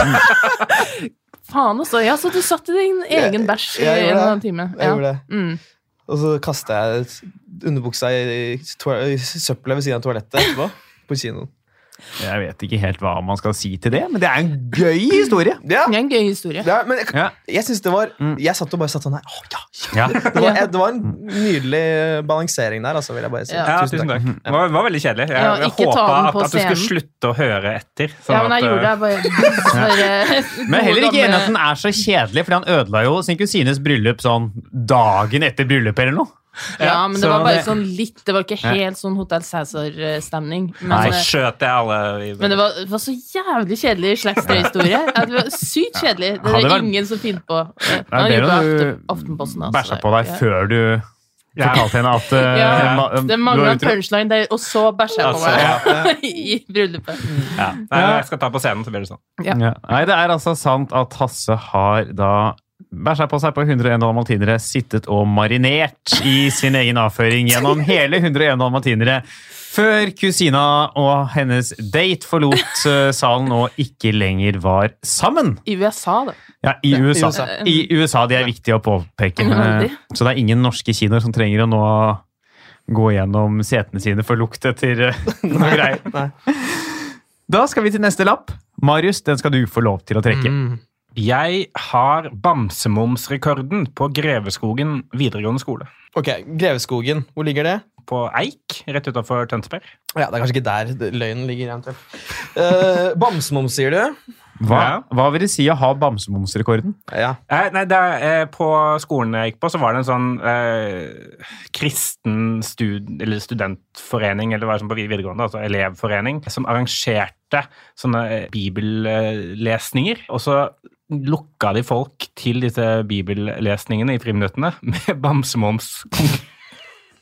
S4: Faen også. Ja, så du satt i din egen bæsj i en
S5: Jeg- jeg
S4: og en
S5: gjorde
S4: halv
S5: det.
S4: time. Ja.
S5: Jeg gjorde det.
S4: Mm.
S5: Og så kasta jeg underbuksa i, toal- i søpla ved siden av toalettet etterpå. På kinoen.
S2: Jeg vet ikke helt hva man skal si til det, men det er en gøy historie.
S5: Ja,
S4: Det er en gøy historie.
S5: det er, men jeg,
S2: Ja.
S5: jeg synes det var Jeg satt og bare satt sånn her. Å, ja, ja.
S2: Ja.
S5: Det, var, det var en nydelig balansering der, altså, vil jeg bare si.
S4: Ja.
S3: Ja, tusen takk. Det var, var veldig kjedelig. Jeg,
S4: Ja,
S3: jeg
S4: ikke ta
S3: håpa
S4: den
S3: at,
S4: på
S3: at du skulle
S4: scenen.
S3: slutte å høre etter. sånn
S4: Ja, men jeg
S3: at,
S4: gjorde det.
S3: eh,
S4: Jeg bare
S2: (laughs)
S4: bare-
S2: Men jeg er heller ikke enig i at den er så kjedelig, fordi han ødela jo sin kusines bryllup sånn dagen etter bryllupet eller noe.
S4: Ja, men det
S2: så
S4: var bare
S2: det-
S4: sånn litt Det var ikke helt sånn Hotell Cæsar-stemning. men,
S3: Nei,
S4: eh,
S3: så skjøt jeg alle i
S4: Men det var, det var så jævlig kjedelig slektshistorie. Ja, det var sykt kjedelig. Det er
S2: Hadde
S4: det
S2: vært-
S4: ingen som finner på.
S2: Nei,
S4: Nå er det
S2: det er jo
S4: på Aften-
S2: du
S4: Aftenposten. altså.
S2: Bæsja på deg
S4: Ja.
S2: før du fortalte henne at eh,
S4: Ja,
S2: ma-
S4: Det
S2: du
S4: mangla
S2: var
S4: en
S2: utro.
S4: punchline der, og så bæsja jeg på
S3: Altså,
S4: meg (laughs) i bryllupet.
S3: Ja. Nei, men jeg skal ta på scenen, så blir det sånn.
S2: Ja. Nei, det er altså sant at Hasse har da bæsja på seg på 101 dalmatinere, sittet og marinert i sin egen avføring (laughs) gjennom hele 101 dalmatinere, før kusina og hennes date forlot eh, salen og ikke lenger var sammen.
S4: I USA, da.
S2: Ja, i USA.
S5: USA.
S2: I USA, de er viktige å påpeke. Eh,
S4: Veldig.
S2: Så det er ingen norske kinoer som trenger å nå gå gjennom setene sine for lukt etter (laughs) eh, noe
S5: (laughs)
S2: greier. Da skal vi til neste lapp. Marius, den skal du få lov til å trekke.
S3: Jeg har bamsemomsrekorden på Greveskogen videregående skole.
S5: Ok, Greveskogen. Hvor ligger det?
S3: På Eik, rett utafor Tønsberg.
S5: Ja, Det er kanskje ikke der det- løgnen ligger. eventuelt. Eh, Bamsemums, sier du?
S2: Hva,
S3: Ja.
S2: hva vil det si å ha bamsemumsrekorden?
S5: Ja.
S3: Eh, nei, det er, eh, på skolen jeg gikk på, så var det en sånn eh, kristen stud, eller studentforening, eller hva det var på vid- videregående, altså elevforening, som arrangerte sånne eh, bibellesninger. Og så lukka de folk til disse bibellesningene i friminuttene med bamsemums.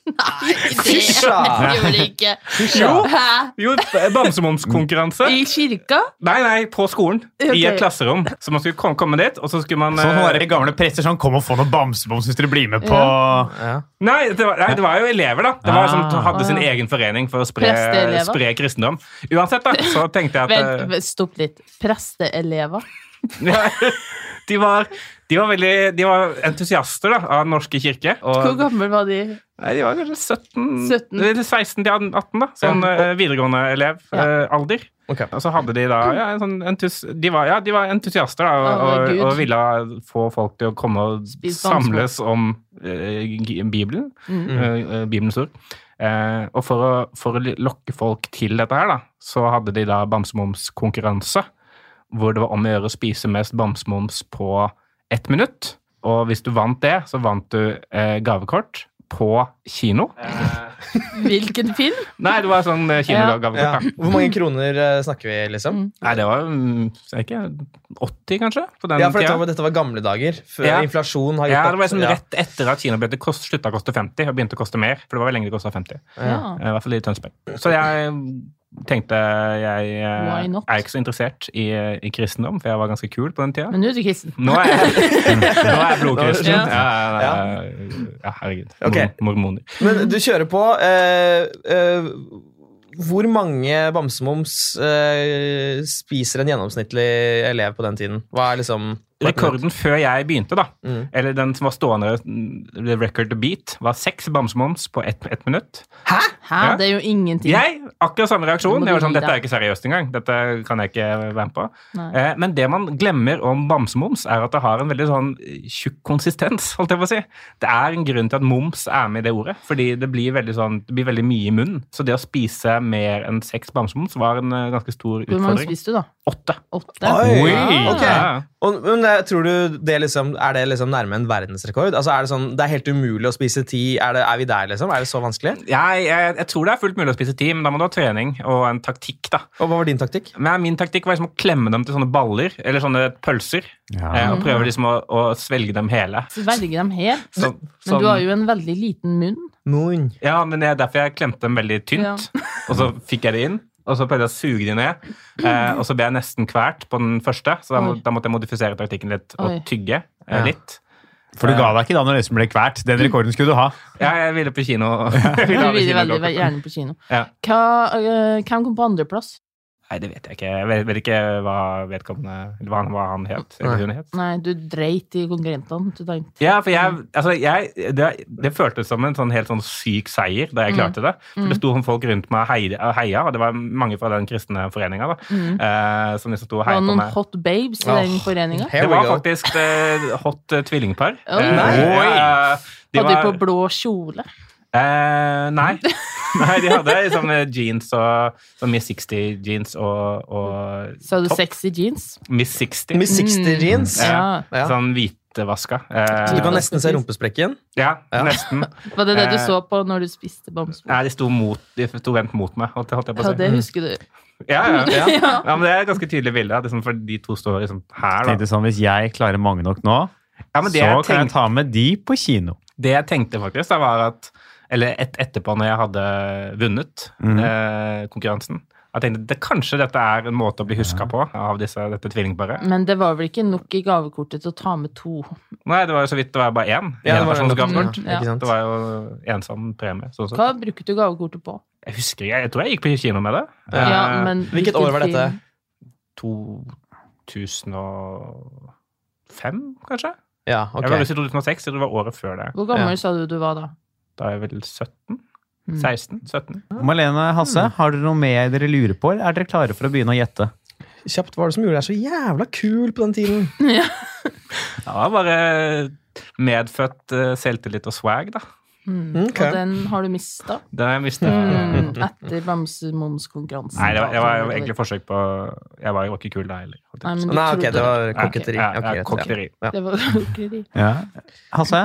S4: Det
S5: Fysja!
S4: gjør det ikke.
S3: Jo.
S4: Hæ?
S3: (laughs) Jo, bamsemumskonkurranse.
S4: I kirka?
S3: Nei, nei, på skolen. I
S4: Ok.
S3: et klasserom. Så man skulle kom- komme dit, og så skulle man
S2: Sånn
S3: eh,
S2: sånne der gamle prester sånn, kom og få noen bamseboms hvis dere blir med på
S5: Ja.
S3: Nei, det var, nei, det var jo elever, da. Det var
S2: Ah.
S3: som hadde sin
S4: Ah, ja.
S3: egen forening for å spre,
S4: Presteelever?
S3: spre kristendom. Uansett, da, så tenkte jeg at (laughs)
S4: Vent, stopp litt. Presteelever?
S3: eh, de, var, de var veldig De var entusiaster da, av Den norske kirke.
S4: Hvor
S3: Og,
S4: gammel var de?
S3: nei, de var kanskje 17,
S4: 17.
S3: eller 16 til 18, da. Sånn
S5: Ja.
S3: eh, videregående elev.
S4: Ja.
S3: eh, alder.
S5: Ok.
S3: Og så hadde de da ja, en sånn entus, de, var, ja, de var entusiaster da, og,
S4: Å,
S3: og,
S4: Gud.
S3: og ville få folk til å komme og
S4: Spis
S3: samles om eh, G- Bibelen. eh, eh, Bibelens ord. Eh, og for å, for å li- lokke folk til dette her, da, så hadde de da bamsemumskonkurranse. Hvor det var om å gjøre å spise mest bamsemums på ett minutt. Og hvis du vant det, så vant du eh, gavekort på kino.
S4: Hvilken film?
S3: Nei, det var sånn eh,
S5: Ja.
S3: kinogavekort, da.
S5: Hvor mange kroner eh, snakker vi, liksom?
S3: Nei, det var mm, jeg vet ikke, 80, kanskje? På den
S5: Ja, for dette
S3: tida.
S5: var, dette var gamle dager. Før
S3: Ja.
S5: inflasjon har gjort
S3: Ja, det var liksom
S5: at-
S3: rett etter at kinobilletter kost- slutta å koste 50 og begynte å koste mer. For det var vel lenge det kosta 50.
S4: Ja.
S3: Eh, I hvert fall i Tønsberg. Så jeg tenkte jeg eh,
S4: Why not?
S3: er ikke så interessert i, i kristendom, for jeg var ganske kul på den tida.
S4: Men nå er du kristen.
S3: Nå er jeg,
S4: (laughs)
S3: nå er jeg blodkristen.
S4: Ja.
S3: Ja, ja, ja, ja, ja, herregud. Mor-
S5: Ok.
S3: Mormoner.
S5: Men du kjører på eh, eh, Hvor mange bamsemums eh, spiser en gjennomsnittlig elev på den tiden? Hva er liksom
S3: Rekorden før jeg begynte, da,
S5: Mm.
S3: eller den som var stående mm, the record to beat, var seks bamsemums på ett ett minutt.
S4: Hæ?
S3: Ja.
S4: Det er jo ingenting.
S3: Jeg, akkurat samme reaksjon.
S4: Nå må
S3: Jeg var
S4: du
S3: sånn,
S4: gi
S3: Dette er
S4: deg.
S3: ikke seriøst engang. Dette kan jeg ikke være med på.
S4: Nei.
S3: Eh, men det man glemmer om bamsemums, er at det har en veldig sånn eh, tjukk konsistens. holdt jeg på å si. Det er en grunn til at moms er med i det ordet. Fordi det blir veldig, sånn, det blir veldig mye i munnen. Så det å spise mer enn seks bamsemums var en eh, ganske stor
S4: Hvor mange
S3: utfordring.
S4: spiste du, da?
S3: Åtte.
S4: Åtte?
S5: Oi!
S4: Ja.
S5: Ok.
S3: Ja.
S5: Og, men det, tror du det liksom, Er det liksom nærme en verdensrekord? Altså er Det sånn, det er helt umulig å spise ti. Er, det, er vi der, liksom? Er det så vanskelig?
S3: Jeg, jeg, jeg tror det er fullt mulig å spise ti, men da må du ha trening og en taktikk. da.
S5: Og hva var din taktikk?
S3: Men min taktikk var liksom å klemme dem til sånne baller, eller sånne pølser, eh, og
S4: Mm.
S3: prøve liksom å, å svelge dem hele.
S4: Svelge dem helt.
S3: Så,
S4: Men du har jo en veldig liten munn.
S5: Moon.
S3: Ja, men det er derfor jeg klemte dem veldig tynt. (laughs) Og så fikk jeg det inn, og så prøvde jeg å suge de ned. Eh, og så ble jeg nesten kvert på den første, så da, må,
S4: Oi.
S3: da måtte jeg modifisere taktikken litt og
S4: Oi.
S3: tygge eh,
S5: Ja.
S3: litt.
S2: For du ga deg ikke da når Øystein ble kvert. Den rekorden skulle du ha.
S3: Ja, jeg ville på kino. (laughs) Jeg
S4: Du
S3: ville ha det
S4: vil veldig
S3: kinogården.
S4: gjerne på kino.
S3: Ja.
S4: Hva, eh, hvem kom på andreplass?
S3: Nei, det vet jeg ikke. Jeg vet, vet ikke hva vedkommende eller hva han, hva han het.
S5: Nei.
S3: Eller hun het.
S4: Nei, du dreit i konkurrentene. Du tenkte
S3: Ja, for jeg, altså jeg det, det føltes som en sånn helt sånn syk seier da jeg
S4: Mm.
S3: klarte det. For det sto sånn folk rundt meg og heide- og heia, og det var mange fra den kristne foreninga da, eh, som liksom sto og
S4: det var
S3: heia på
S4: Mm. noen
S3: meg.
S4: hot babes i den foreninga.
S5: Here
S3: det
S5: we
S3: var
S5: go.
S3: faktisk eh, hot eh, tvillingpar.
S4: Oi.
S3: Eh,
S5: Nei.
S3: ja, eh, de
S4: Hadde de på
S3: var,
S4: blå kjole?
S3: eh, nei. nei, de hadde liksom eh, jeans og sånn Miss 60 jeans og, og
S4: Så hadde du
S3: Topp.
S4: sexy jeans?
S3: Miss 60.
S5: Miss
S4: Mm.
S5: 60 jeans.
S4: Ja.
S5: Ja.
S3: Sånn hvitevaska.
S5: Så du
S3: Eh,
S5: kan nesten se rumpesprekken.
S3: ja,
S5: Ja.
S3: nesten.
S4: Var det det du
S3: Eh.
S4: så på når du spiste bamsebord?
S3: Nei, de sto, mot, de sto vendt mot meg, holdt, holdt jeg på å
S4: Ja,
S3: si.
S4: det husker du.
S3: Ja, ja. ja.
S5: Ja.
S3: ja, men Det er et ganske tydelig bilde. at Liksom, for de to står liksom her. Da.
S2: Tenkte sånn, Hvis jeg klarer mange nok nå,
S3: Ja, men
S2: så
S3: det,
S2: kan
S3: jeg
S2: jeg
S3: tenkte,
S2: ta med de på kino.
S3: det jeg tenkte faktisk, da, var at Eller et, etterpå, når jeg hadde vunnet
S5: Mhm.
S3: eh, konkurransen Jeg tenkte det, kanskje dette er en måte å bli huska på av disse, dette tvillingparet.
S4: Men det var vel ikke nok i gavekortet til å ta med to.
S3: Nei, det var jo så vidt det var bare én.
S5: Ja, det var
S3: Enpersons
S5: nok-
S3: gavekort.
S5: Mm,
S4: ja.
S5: Ikke sant?
S3: Det var jo ensom premie. sånn sett.
S4: Hva bruker du gavekortet på?
S3: Jeg husker ikke, jeg tror jeg gikk på kino med det. Eh,
S4: Ja, men
S5: Hvilket år var
S4: hvilken
S5: dette?
S4: film?
S3: 2005, kanskje?
S5: Ja,
S3: Jeg var
S5: ok.
S3: russ i 2006, så det var året før det.
S4: Hvor gammel
S5: Ja.
S4: sa du du var da?
S3: Da er jeg vel 17?
S4: Mm.
S3: 16? 17?
S2: Malene Hasse, har dere noe med dere lurer på, eller er dere klare for å begynne å gjette?
S5: Kjapt hva var det som gjorde deg så jævla kul på den tiden?
S3: Ja, bare medfødt eh, selvtillit og swag, da.
S4: Mm.
S5: Ok.
S4: Og den har du mista
S3: Da jeg mistet
S5: (laughs)
S4: mm. etter Bamsemums-konkurransen.
S3: Nei, det var, det var jo egentlig forsøk på Jeg var jo ikke kul da heller. holdt jeg på å
S4: Mm.
S3: si.
S4: Nei, men du
S5: (laughs) Nei, ok,
S4: trodde
S5: det var
S3: Ja,
S5: koketteri.
S3: ja,
S5: Ok,
S3: ja,
S5: greit,
S3: koketteri.
S5: Ja.
S4: Det var (laughs) kokkeri.
S2: Hasse,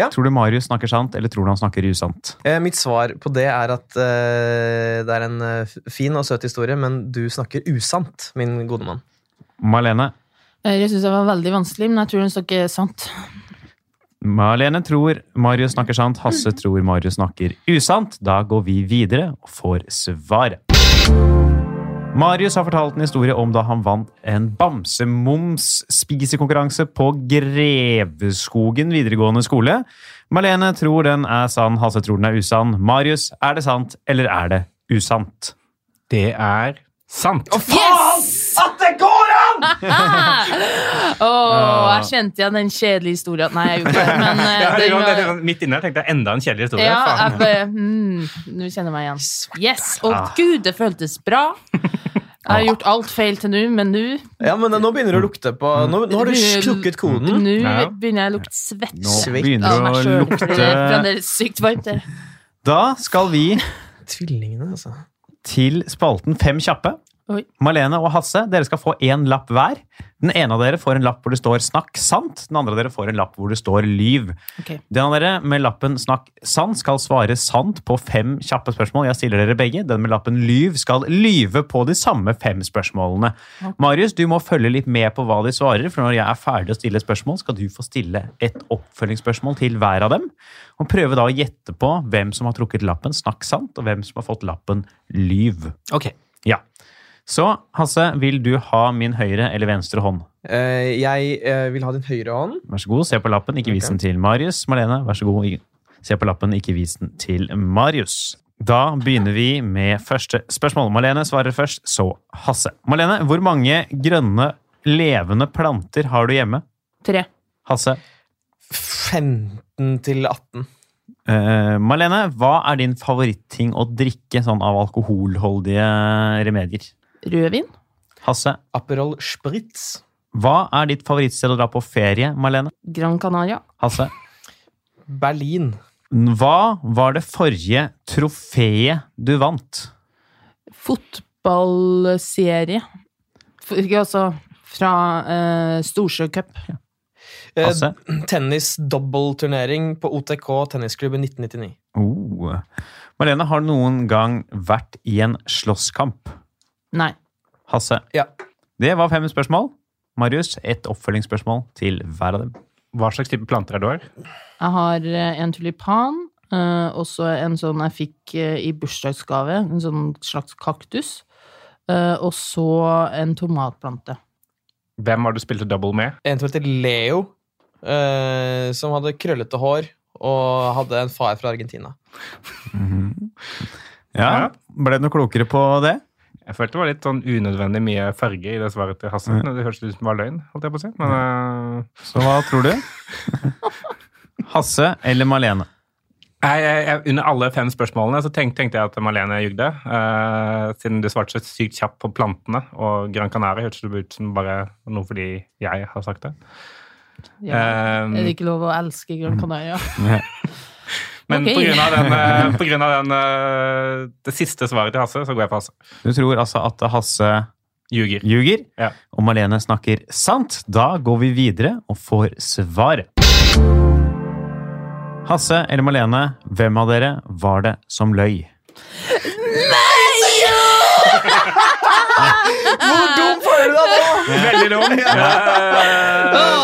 S5: Ja.
S2: tror du Marius snakker sant, eller tror du han snakker usant?
S5: Eh, Mitt svar på det er at eh, det er en eh, f- fin og søt historie, men du snakker usant, min gode mann.
S2: Malene.
S4: Eh, Jeg syns det var veldig vanskelig, men jeg tror hun snakker sant.
S2: Malene tror Marius snakker sant, Hasse tror Marius snakker usant. Da går vi videre og får svaret. Marius har fortalt en historie om da han vant en bamsemums-spisekonkurranse på Greveskogen videregående skole. Malene tror den er sann, Hasse tror den er usann. Marius, er det sant, eller er det usant?
S3: Det er sant.
S4: Yes! (laughs) At det går an! Å, jeg kjente igjen den kjedelige historien. Nei, jeg gjorde ikke det, men eh,
S3: (laughs) Ja, det
S4: den
S3: var- det
S4: var-
S3: var midt inne her tenkte jeg enda en kjedelig historie.
S4: Ja,
S3: Faen.
S4: jeg bare mm, Nå kjenner jeg meg igjen. Yes! Å
S3: Ah.
S4: gud, det føltes bra. Jeg har gjort alt feil til nå, men nå
S5: Ja, men eh, nå begynner du å lukte på
S3: Mm.
S5: Nå, nå har du knukket koden.
S4: Nå
S3: Ja.
S4: begynner jeg å lukte svett
S2: Nå
S5: Svikt
S4: av
S2: begynner det
S4: meg
S2: å
S4: sjøl. (laughs) Fordi det er
S2: lukte
S4: fremdeles sykt varmt der.
S2: Da skal vi
S5: Tvillingene, altså.
S2: til spalten Fem kjappe.
S4: Oi.
S2: Malene og Hasse, dere skal få én lapp hver. Den ene av dere får en lapp hvor det står 'snakk sant'. Den andre av dere får en lapp hvor det står 'lyv'.
S4: Ok.
S2: Den av dere med lappen 'snakk sant' skal svare sant på fem kjappe spørsmål. Jeg stiller dere begge. Den med lappen 'lyv' skal lyve på de samme fem spørsmålene. Marius, du må følge litt med på hva de svarer, for når jeg er ferdig å stille et spørsmål, skal du få stille et oppfølgingsspørsmål til hver av dem. Og prøve da å gjette på hvem som har trukket lappen 'snakk sant', og hvem som har fått lappen 'lyv'.
S3: Ok.
S2: Ja. Så Hasse, vil du ha min høyre eller venstre hånd?
S5: Eh, jeg eh, vil ha din høyre hånd.
S2: Vær så god, se på lappen, ikke vis den til Marius. Malene, vær så god, se på lappen, ikke vis den til Marius. Da begynner vi med første spørsmål. Malene svarer først, så Hasse. Malene, hvor mange grønne levende planter har du hjemme?
S4: Tre.
S2: Hasse.
S5: 15 til 18.
S2: Eh, Malene, hva er din favoritting å drikke sånn av alkoholholdige remedier?
S4: Rødvin.
S2: Hasse.
S5: Aperol Spritz.
S2: Hva er ditt favorittsted å dra på ferie, Malene?
S4: Gran Canaria.
S2: Hasse.
S5: Berlin.
S2: Hva var det forrige trofeet du vant?
S4: Fotballserie. F- Ikke altså fra eh, Storsjøcup.
S5: Eh,
S2: Hasse?
S5: Tennis-dobbelturnering på OTK tennisklubb i 1999.
S2: Oh. Marlene, har du noen gang vært i en slåsskamp?
S4: Nei.
S2: Hasse?
S5: Ja.
S2: Det var fem spørsmål. Marius, ett oppfølgingsspørsmål til hver av dem.
S3: Hva slags type planter er du har?
S4: Jeg har eh, en tulipan, eh, og så en sånn jeg fikk eh, i bursdagsgave, en sånn slags kaktus, eh, og så en tomatplante.
S3: Hvem var du spilte double med?
S5: En som heter Leo, eh, som hadde krøllete hår og hadde en far fra Argentina.
S2: Ja,
S3: Ja.
S2: Ble du noe klokere på det?
S3: Jeg følte det var litt sånn unødvendig mye farge i det svaret til Hasse. Det hørtes ut som det var løgn, holdt jeg på å si. Men øh,
S2: Så hva
S5: (laughs)
S2: tror du? Hasse eller Malene?
S3: jeg, jeg, jeg, under alle fem spørsmålene så tenk, tenkte jeg at Malene jugde. øh, siden du svarte så sykt kjapt på plantene og Gran Canaria, hørtes det ut som bare noe fordi jeg har sagt det.
S4: Ja.
S3: Ehm,
S4: Er det ikke lov å elske Gran
S3: (laughs)
S4: Canaria? (laughs)
S3: men
S4: Ok.
S3: på grunn av,
S4: (laughs)
S3: den, øh, på grunn av den, øh, det siste svaret til Hasse, så går jeg for Hasse.
S2: Du tror altså at Hasse
S3: Ljuger.
S2: (laughs) ljuger,
S3: Ja.
S2: og Malene snakker sant. Da går vi videre og får svaret. Hasse eller Malene, hvem av dere var det som løy?
S5: Hvor dum føler du deg nå?!
S3: Veldig dum!
S4: Å,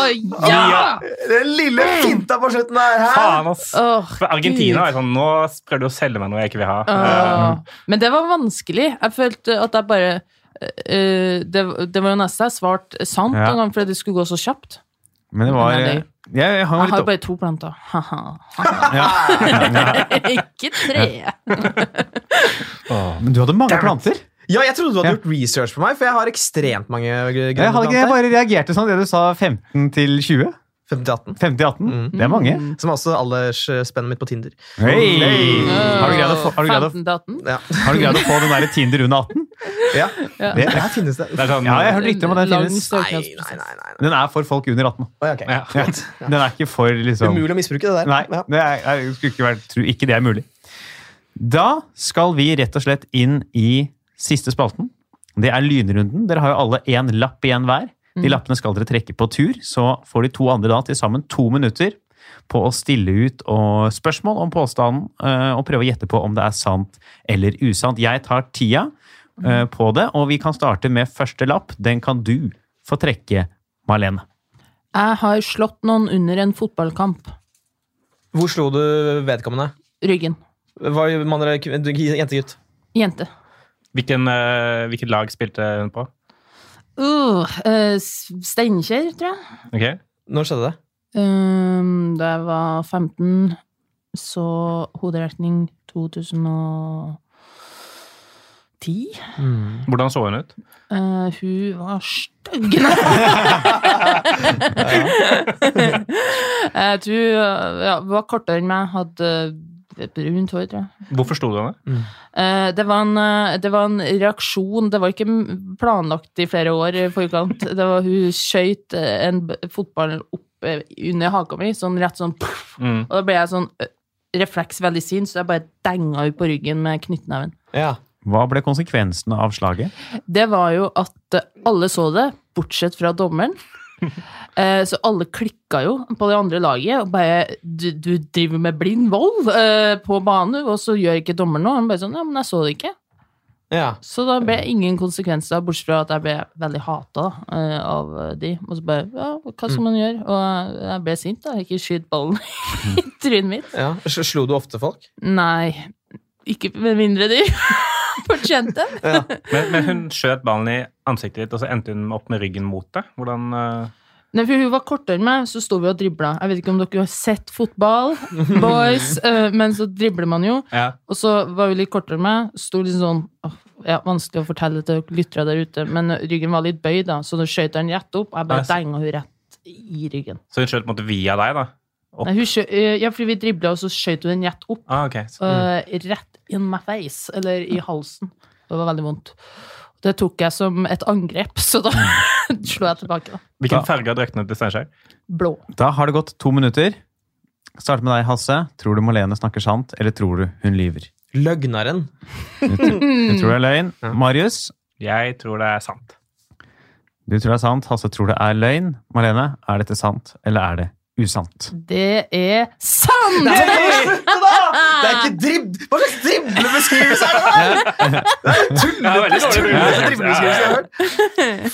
S3: Øh,
S4: ja!
S5: Den lille finta på slutten der!
S3: faen, ass!
S4: Åh,
S3: For
S4: Gud.
S3: Argentina er sånn Nå prøver du å selge meg noe jeg ikke vil ha. Ehm,
S2: Ah.
S4: Åh. Eh, Men det var vanskelig. Jeg følte at jeg bare eh, det, det var jo nesten jeg svarte sant
S2: Ja.
S4: en gang fordi det skulle gå så kjapt.
S2: Men det var eh,
S4: Nei,
S2: Jeg,
S4: løy.
S2: jeg hang
S4: Jeg
S2: litt
S4: har
S2: opp.
S4: bare to planter. Haha. (laughs) Ikke tre.
S2: Men du hadde mange
S3: Damn
S2: planter.
S5: Ja, jeg trodde du hadde
S2: Ja.
S5: gjort research på meg, for jeg har ekstremt mange grønne
S2: Jeg, hadde ikke, jeg
S5: planter.
S2: bare reagerte sånn det du sa 15 til 20.
S5: 50-18.
S2: 50 til 18. Det er mange.
S5: Som er også aldersspennet mitt på Tinder.
S2: Hei! Har du greid å få, har du greid å,
S4: 15 til 18?
S5: Ja.
S2: (laughs) har du greid å få den der Tinder under 18?
S5: Ja.
S4: Ja.
S5: Det her finnes det.
S3: Det er sånn,
S2: Ja, jeg har hørt rykter om at den
S4: Lang
S2: finnes.
S5: Nei,
S4: søknadsprosess.
S5: nei, nei. nei.
S2: Den er for folk under 18.
S5: Oi, ok.
S3: Ja.
S2: Ja. (laughs) Den er ikke for liksom
S5: Umulig å misbruke det der.
S2: Nei,
S5: Ja.
S2: det er, jeg skulle ikke vært, tror ikke det er mulig. Da skal vi rett og slett inn i siste spalten. Det er lynrunden. Dere har jo alle én lapp igjen hver. De lappene skal dere trekke på tur, så får de to andre da til sammen to minutter på å stille ut og spørsmål om påstanden eh, og prøve å gjette på om det er sant eller usant. Jeg tar tida eh, på det, og vi kan starte med første lapp. Den kan du få trekke, Marlene.
S4: Jeg har slått noen under en fotballkamp.
S5: Hvor slo du vedkommende?
S4: Ryggen.
S5: Var det mann eller kvin- jentegutt?
S4: Jente.
S3: Hvilken, eh, hvilket lag spilte hun på?
S4: Uh, eh, Steinkjer, tror jeg.
S3: Ok?
S5: Når skjedde det?
S4: Um, da jeg var 15, så hoderekning 2010.
S2: Hmm.
S3: Hvordan så hun ut?
S4: Eh, hun var stygg. (laughs) Nei. jeg tror eh, ja, hun var kortere enn meg. Hadde eh, brunt hår, tror jeg.
S3: Hvorfor sto du henne?
S4: Eh, Det var, en, eh, det var en reaksjon. Det var ikke m- planlagt i flere år i forkant. Det var Hun skjøt eh, en b- fotball opp eh, under haka mi, sånn rett sånn pff.
S3: Mm.
S4: Og da ble jeg sånn eh, refleks veldig sint, så jeg bare denga henne på ryggen med knyttneven.
S5: Ja.
S2: Hva ble konsekvensene av slaget?
S4: Det var jo at eh, alle så det, bortsett fra dommeren. Eh, Så alle klikka jo på det andre laget og bare Du, du driver med blind vold eh, på banen, og så gjør ikke dommeren noe. Han bare sånn Ja, men jeg så det ikke.
S5: ja.
S4: Så da ble ingen konsekvenser, bortsett fra at jeg ble veldig hata av eh, de. Og så bare Ja, hva skal man gjøre? Og jeg ble sint, da. Ikke skyt ballen (laughs) i trynet mitt.
S5: ja. S- Slo du ofte folk?
S4: Nei. Ikke med mindre de (laughs) fortjente den.
S3: Men, men hun skjøt ballen i ansiktet ditt, og så endte hun opp med ryggen mot deg. Hvordan, eh,
S4: Nei, for hun var kortere enn meg, så sto vi og dribla. Jeg vet ikke om dere har sett fotball, (laughs) boys, eh, men så dribler man jo. Og så var hun litt kortere enn meg. Sto litt sånn åh, ja, Vanskelig å fortelle til lyttere der ute, men ryggen var litt bøyd, da, så da skjøt jeg den rett opp. Jeg
S3: Ja,
S4: bare
S3: så-
S4: denga hun rett i ryggen.
S3: Så hun skjøt på en måte via deg, da? Opp.
S4: Nei, hun skjø eh, ja, fordi vi dribla, og så skjøt hun den rett opp.
S3: Ah, ok. Så-
S4: eh, Rett in my face, eller i halsen. Det var veldig vondt. Det tok jeg som et angrep, (laughs) så da slo jeg tilbake. da.
S3: Hvilken farge har draktene til Steinkjer?
S4: Blå.
S2: Da har det gått to minutter. Start med deg, Hasse. Tror du Malene snakker sant, eller tror du hun lyver?
S5: Løgneren.
S2: Du
S4: Mm.
S2: tror det er løgn. Marius,
S3: Jeg tror det er sant.
S2: du tror det er sant. Hasse tror det er løgn. Malene, er dette sant, eller er det usant?
S4: Det er sant!
S5: Nei, slutt, da! Det er ikke dribb... Hva slags driblebeskrivelse er det der?!
S3: Tullete,
S5: tullete driblebeskrivelse jeg har hørt.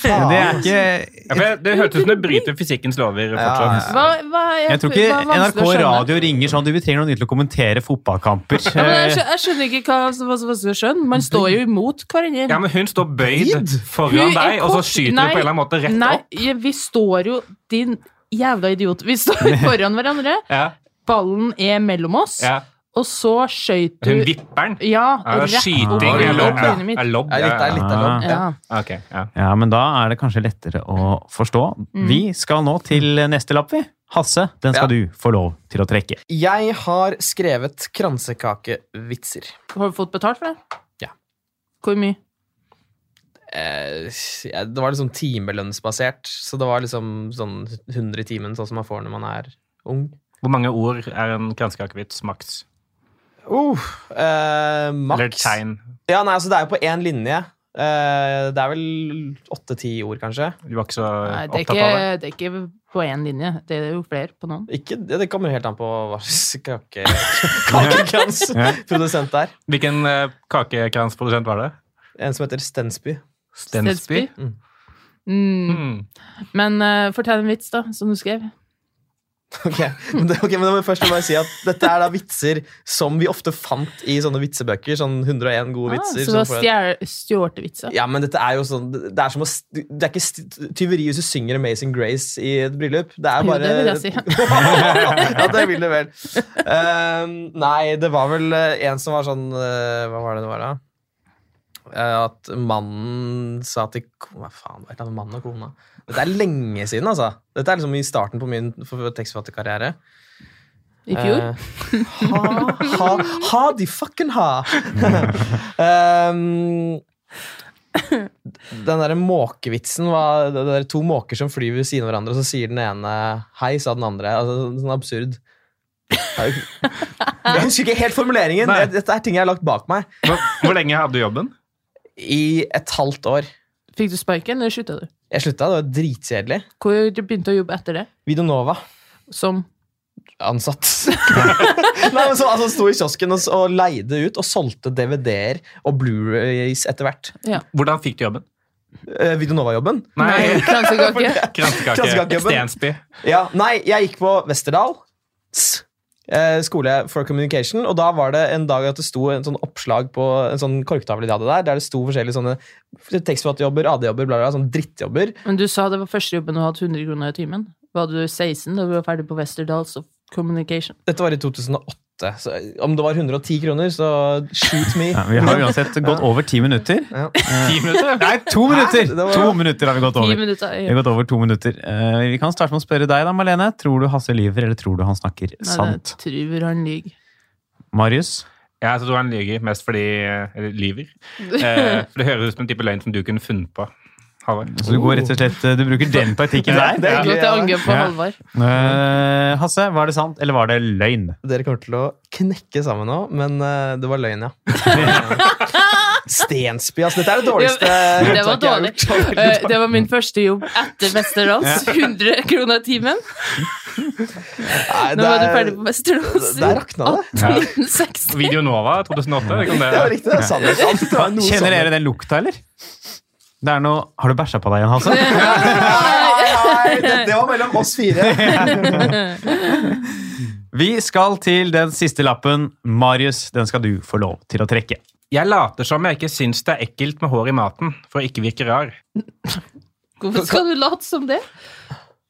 S2: Men det er
S5: Faen.
S2: ikke
S3: Ja, for det hørtes ut som det bryter fysikkens lover fortsatt.
S4: Hva, hva er,
S2: Jeg tror
S4: hva
S2: ikke
S4: er vanskelig
S2: NRK
S4: å skjønne?
S2: Radio ringer sånn du vi trenger noen nye til å kommentere fotballkamper.
S4: ja, men
S3: eh,
S4: jeg, skjønner, jeg skjønner ikke hva som hva som er vanskelig å skjønne. Man står jo imot hverandre.
S3: Ja, men hun står bøyd
S4: Hun
S3: foran
S4: er
S3: deg, og så
S4: kort-
S3: skyter du
S4: Nei,
S3: på en eller annen måte rett
S4: Nei,
S3: opp.
S4: ja, vi står jo Din jævla idiot. Vi
S3: (laughs)
S4: står foran hverandre.
S3: Ja,
S4: Ballen er mellom oss,
S3: ja.
S4: og så skøyt du
S3: Hun vipper den.
S4: Ja,
S3: Er det
S4: rett
S3: skyting
S4: over
S3: eller
S4: lobbyen
S3: ja,
S4: mitt.
S3: er lobb?
S5: Det er litt, det er litt av lov.
S4: Ja.
S3: Ok, ja.
S2: Ja, men da er det kanskje lettere å forstå.
S4: Mm.
S2: Vi skal nå til neste lapp, vi. Hasse, den skal du få lov til å trekke.
S5: Jeg har skrevet kransekakevitser.
S4: Har du fått betalt for det?
S5: Ja.
S4: Hvor mye?
S5: Eh, ja, det var liksom timelønnsbasert, så det var liksom sånn 100 i timen, sånn som man får når man er ung.
S3: Hvor mange ord er en kransekakevits maks?
S5: Uh, eh, maks
S3: Eller tegn?
S5: Ja, nei, altså det er jo på én linje. Eh, det er vel åtte-ti ord, kanskje.
S3: Du var ikke så
S4: Nei, det er,
S3: Eh, opptatt
S4: ikke,
S3: av det?
S4: det er ikke på én linje. Det er jo flere på noen.
S5: Ikke, det det kommer helt an på hva slags (laughs) kake, kakekransprodusent det er.
S3: Hvilken eh, kakekransprodusent var det?
S5: En som heter Stensby.
S3: Stensby?
S5: Mm.
S4: Mm.
S3: Mm.
S4: Men eh, fortell en vits, da, som du skrev.
S5: Ok, men, det, ok, men da må jeg først bare si at Dette er da vitser som vi ofte fant i sånne vitsebøker. Sånn 101 gode vitser.
S4: ah, så det
S5: sånn
S4: var
S5: for at-
S4: stjel- stjåltevitser.
S5: ja, men dette er jo sånn Det det er, som å, st- det er ikke st- tyveri hvis du synger Amazing Grace i et bryllup. Det er
S4: Jo,
S5: bare
S4: det vil jeg si.
S5: (laughs) ja, det vil det vel. Ehm, nei, det var vel eh, en som var sånn eh, Hva var det det var, da? Eh, at mannen sa til ko- Hva faen var det? Mannen og kona Dette er lenge siden, altså. Dette er liksom i starten på min f- f- tekstforfatterkarriere.
S4: I fjor.
S5: Eh, ha, ha, ha de fucking ha! um, Den der måkevitsen var det der to måker som flyr ved siden av hverandre, og så sier den ene hei, sa den andre. Altså, sånn absurd. Det er jo- Jeg husker ikke helt formuleringen.
S3: Nei.
S5: Det- Dette er ting jeg har lagt bak meg
S3: Hvor, hvor lenge hadde du jobben?
S5: i et halvt år.
S4: Fikk du sparken, eller slutta du?
S5: Jeg slutta, det var dritkjedelig.
S4: Hvor du begynte å jobbe etter det?
S5: Videonova.
S4: Som
S5: ansatt. Nei, men så, altså, sto i kiosken og, og leide ut og solgte DVD-er og Blu-rays etter hvert.
S3: Hvordan fikk du jobben?
S5: Eh, Videonova-jobben?
S3: (laughs) Nei,
S4: kransekake?
S3: kransekake.
S5: Kransekakejobben.
S3: Stensby.
S5: (laughs) Ja, nei, jeg gikk på Westerdal s- eh, skole for communication, og da var det en dag at det sto en sånn oppslag på en sånn korktavle de hadde der, der det sto forskjellige sånne tekstforfatterjobber, AD-jobber, bla, bla, bla, sånn drittjobber.
S4: Men du sa det var første jobben du hadde 100 kroner i timen. Var du 16 da du var ferdig på Westerdals of Communication?
S5: Dette var i 2008, så om det var 110 kroner, så shoot me.
S2: Ja, vi har uansett gått over ti minutter.
S3: Ti minutter?
S2: Nei, to minutter!
S5: Det var-
S2: To minutter har vi gått
S4: Ti
S2: over.
S4: minutter.
S2: Vi har gått over to minutter. Eh, vi kan starte med å spørre deg, da, Marlene. Tror du Hasse lyver, eller tror du han snakker sant?
S4: Nei, det tror han lyver.
S2: Marius?
S3: Jeg tror han lyver mest fordi Eller lyver.
S4: (laughs)
S3: Eh, for det høres ut som en type løgn som du kunne funnet på. Altså, Halvard.
S2: Så du går rett og slett eh, Du bruker den taktikken
S5: Ja,
S2: der?
S5: det er
S4: Gå
S5: gøy,
S4: til
S5: ja.
S4: angrep på
S2: Ja.
S4: Halvard.
S2: Eh, Hasse, var det sant, eller var det løgn?
S5: Dere kommer til å knekke sammen nå, men eh, det var
S4: (laughs)
S5: løgn, ja. Stensby, altså. Dette er det dårligste
S4: Det var
S5: uttaket jeg har
S4: dårlig.
S5: gjort. Det var
S4: (laughs)
S5: veldig
S4: Eh, Det var min første jobb etter Westerdals. 100 kroner i timen.
S5: dårlig.
S4: Eh, Nå var du
S5: Nei,
S4: ferdig på Westerdals.
S5: Der rakna det.
S3: Ja.
S4: 1860.
S3: Video Nova 2008. det kan
S4: (laughs)
S5: Det var
S3: det-
S5: riktig. det er sannhet. Alt det var noe
S2: Kjenner dere den lukta, eller? Det er noe Har du bæsja på deg igjen, Hasse?
S4: (laughs)
S5: sannhet. Nei, det, det var mellom oss fire.
S2: Vi skal til den siste lappen. Marius, den skal du få lov til å trekke.
S3: Jeg later som jeg ikke syns det er ekkelt med hår i maten, for å ikke virke rar.
S4: Hvorfor skal du late som det?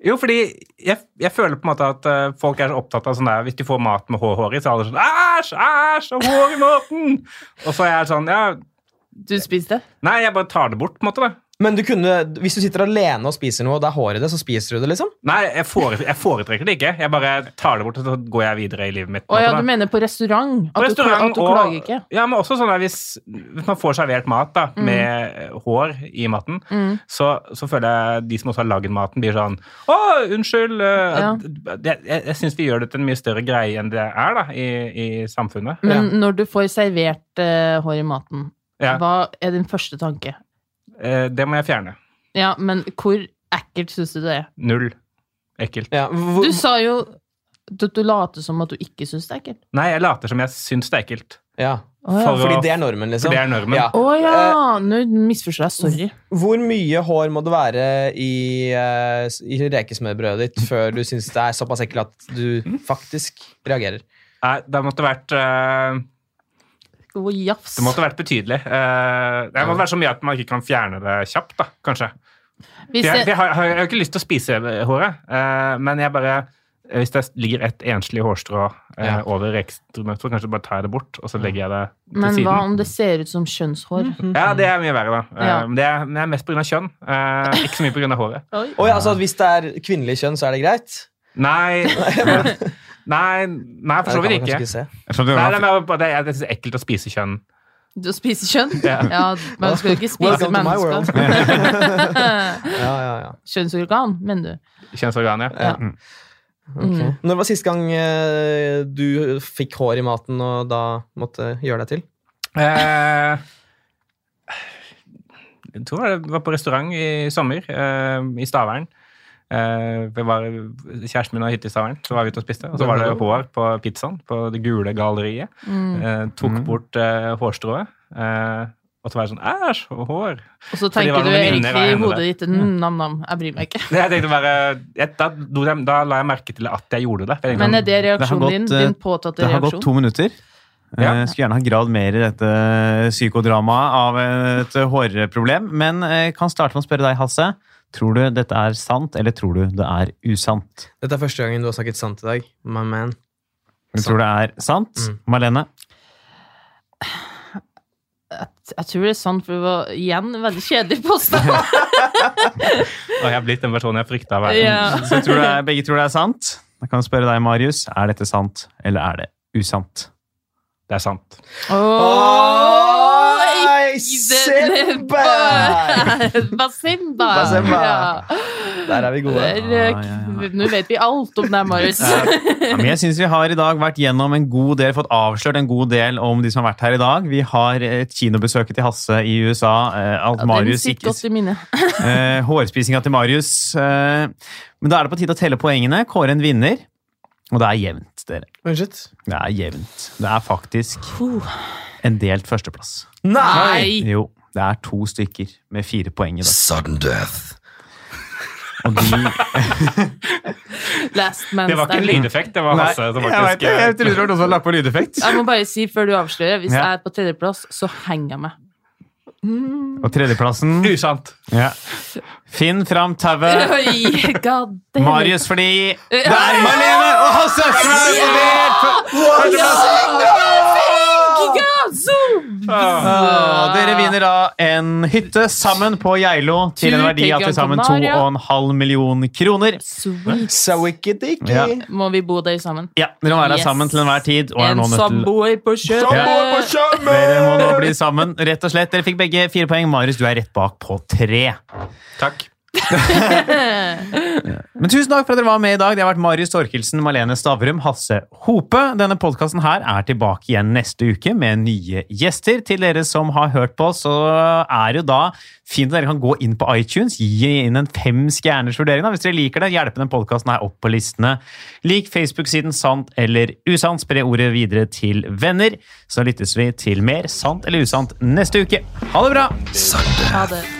S3: Jo, fordi jeg, jeg føler på en måte at eh, folk er så opptatt av sånn der Hvis de får mat med hår, hår i, så er alle sånn Æsj, æsj, og hår i maten! Og så er jeg sånn Ja,
S4: Du spiste det.
S3: nei, jeg bare tar det bort, på en måte. da.
S5: Men du kunne, hvis du sitter alene og spiser noe, og det er hår i det, så spiser du det, liksom?
S3: Nei, jeg, fore, jeg foretrekker det ikke. Jeg bare tar det bort, og så går jeg videre i livet mitt. på
S4: Å
S3: en
S4: ja,
S3: måte,
S4: du
S3: da.
S4: mener på restaurant? At
S3: Restaurant
S4: du, at du klager ikke? Mm.
S3: Ja, men også sånn at hvis, hvis man får servert mat da, med eh, hår i maten, så, så føler jeg de som også har lagd maten, blir sånn Å, unnskyld! eh,
S4: Ja.
S3: at- Jeg, jeg, jeg syns vi gjør det til en mye større greie enn det er da, i, i samfunnet.
S4: Men når du får servert eh, hår i maten,
S3: Ja,
S4: hva er din første tanke?
S3: eh, det må jeg fjerne.
S4: Ja, men hvor ekkelt syns du det er?
S3: Null. Ekkelt.
S5: Ja, hvor,
S4: Du sa jo at du later som at du ikke syns det er ekkelt.
S3: Nei, jeg later som jeg syns det er ekkelt.
S5: ja.
S4: Å ja.
S3: For-
S5: Fordi det er normen,
S3: For
S5: liksom?
S3: det er normen.
S5: Ja.
S4: Å ja, nå misforstår jeg. Sorry.
S5: Hvor mye hår må det være i, eh, s- i rekesmørbrødet ditt før du syns det er såpass ekkelt at du faktisk reagerer?
S3: Nei, det måtte vært eh,
S4: Hvor jafs.
S3: Det måtte vært betydelig. Eh, det måtte vært så mye at man ikke kan fjerne det kjapt, da, kanskje.
S4: Hvis
S3: For Jeg,
S4: det,
S3: jeg, har, jeg har jo ikke lyst til å spise håret, eh, men jeg bare eh, hvis det ligger et enslig hårstrå eh,
S5: Ja. Mm.
S3: over rekstrumet, så kanskje bare tar jeg det bort, og så legger jeg det til
S4: men hva
S3: siden.
S4: om det ser ut som kjønnshår?
S3: Ja, det er mye verre, da. Eh,
S4: Ja.
S3: men det, er, men det er mest pga. kjønn. eh, ikke så mye pga. håret.
S4: Oi.
S5: Å ja, altså at hvis det er kvinnelig kjønn, så er det greit? (laughs)
S3: Nei Nei, nei for så
S5: Nei,
S3: vidt
S5: det kan man kanskje
S3: ikke.
S5: se.
S2: Jeg skjønner
S3: Nei,
S2: hva-
S3: det er mer bare det, jeg synes det er ekkelt å spise kjønn.
S4: Du spiser kjønn? Ja, man skal jo ikke spise
S5: Welcome to my world.
S4: mennesker.
S5: Ja, ja, ja.
S4: Kjønnsorgan, mener du?
S3: Kjønnsorgan, ja.
S5: Ja.
S6: Mm.
S5: Ok. Når var sist gang eh, du fikk hår i maten og da måtte gjøre deg til?
S3: Eh, jeg tror det var på restaurant i sommer, eh, i Stavern. Eh, vi var, kjæresten min har hytte i Stavern, så var vi ute og spiste. Og så var det hår på pizzaen på det gule galleriet.
S4: Mm.
S3: Eh, tok bort eh, hårstrået. Eh, og så var det sånn Æsj, hår! (laughs)
S4: Og så
S3: Fordi det var
S4: tenker du
S3: noen venninner
S4: egentlig i
S3: av henne
S4: hodet ditt mm, nam-nam, jeg bryr meg ikke.
S3: Det, jeg tenkte bare, jeg, da, lo jeg- da la jeg merke til at jeg gjorde det. For jeg tenkte
S4: Men
S3: sånn,
S4: er det reaksjonen
S2: gått,
S4: din?
S2: eh,
S4: Din påtatte
S2: Det har gått
S4: reaksjon?
S2: to minutter.
S3: Ja.
S2: Jeg skulle gjerne ha gravd mer i dette psykodramaet av et hårproblem. Men jeg kan starte med å spørre deg, Hasse. Tror du dette er sant, eller tror du det er usant?
S5: Dette er første gangen du har snakket sant i dag. My man.
S2: Du tror det er sant? Marlene?
S4: Jeg tror det er sant, for det var igjen veldig kjedelig påstand.
S3: «Å, jeg er blitt den personen jeg frykta å være.
S4: ja.
S2: Så jeg tror det er, begge tror det er sant. Da kan jeg spørre deg, Marius. Er dette sant, eller er det usant?
S3: Det er sant.
S4: Åh,
S5: Basemba!
S4: (laughs) Basemba!
S5: Basemba.
S4: Ja.
S5: Der er Ah, vi gode.
S4: Der,
S2: Ja,
S4: eh,
S2: ja, ja.
S4: Nå vet vi alt om deg, Marius.
S2: Ja, men jeg synes Vi har i dag vært gjennom en god del, fått avslørt en god del om de som har vært her i dag. Vi har eh, et kinobesøket til Hasse i USA. eh, Alt
S4: Den
S2: Marius
S4: sitter
S2: ikke
S4: godt i minnet.
S2: Eh, hårspisinga til Marius. Eh, men da er det på tide å telle poengene. Kåre en vinner. Og det er jevnt, dere.
S5: Unnskyld?
S2: Det er jevnt. Det er faktisk en delt førsteplass.
S5: Nei!
S4: Nei!
S2: Jo, det er to stykker med fire poeng i dag.
S6: Sudden death.
S2: Og
S3: (laughs)
S2: de
S4: Last man
S3: Det var ikke en
S4: standing.
S3: lydeffekt, det var Hasse som faktisk eh,
S2: trodde noen hadde lagt på lydeffekt.
S4: Jeg må bare si før du avslører, hvis
S2: Ja.
S4: jeg er på tredjeplass, så
S2: (laughs)
S4: henger jeg meg.
S2: Og tredjeplassen
S3: Usant.
S2: ja. Finn fram
S3: (laughs)
S2: tauet.
S4: Oi, god damn.
S2: Marius fordi Det
S4: Ja!
S2: er Malene og Hasse som er delt førsteplass!
S4: God, zoom!
S2: Åh, Dere vinner da en hytte sammen på Geilo til en
S4: Tur
S2: verdi
S4: til
S2: av til
S4: Gran
S2: sammen
S4: Canaria.
S2: 2,5 million kroner.
S4: Sweet.
S5: Sawikidiki.
S2: Ja.
S4: Må vi bo der sammen?
S2: Ja, Dere må være
S4: Yes.
S2: sammen til enhver tid. Og er
S4: En
S2: nå nødt til
S4: samboer på
S2: Samboer
S4: kjøpet!
S2: Dere må nå bli sammen, rett og slett. Dere fikk begge fire poeng. Marius, du er rett bak på tre.
S3: Takk.
S2: Men tusen takk for at dere var med i dag. Det har vært Marius Torkelsen, Malene Stavrum, Hasse Hope. Denne podkasten her er tilbake igjen neste uke med nye gjester. Til dere som har hørt på, så er det jo da fint at dere kan gå inn på iTunes, gi inn en fem stjerners vurdering da, hvis dere liker det. Hjelpe den podkasten her opp på listene. Lik Facebook-siden Sant eller usant. Spre ordet videre til venner. Så lyttes vi til mer Sant eller usant neste uke. Ha det bra!
S6: Sudden death.
S4: Ha det.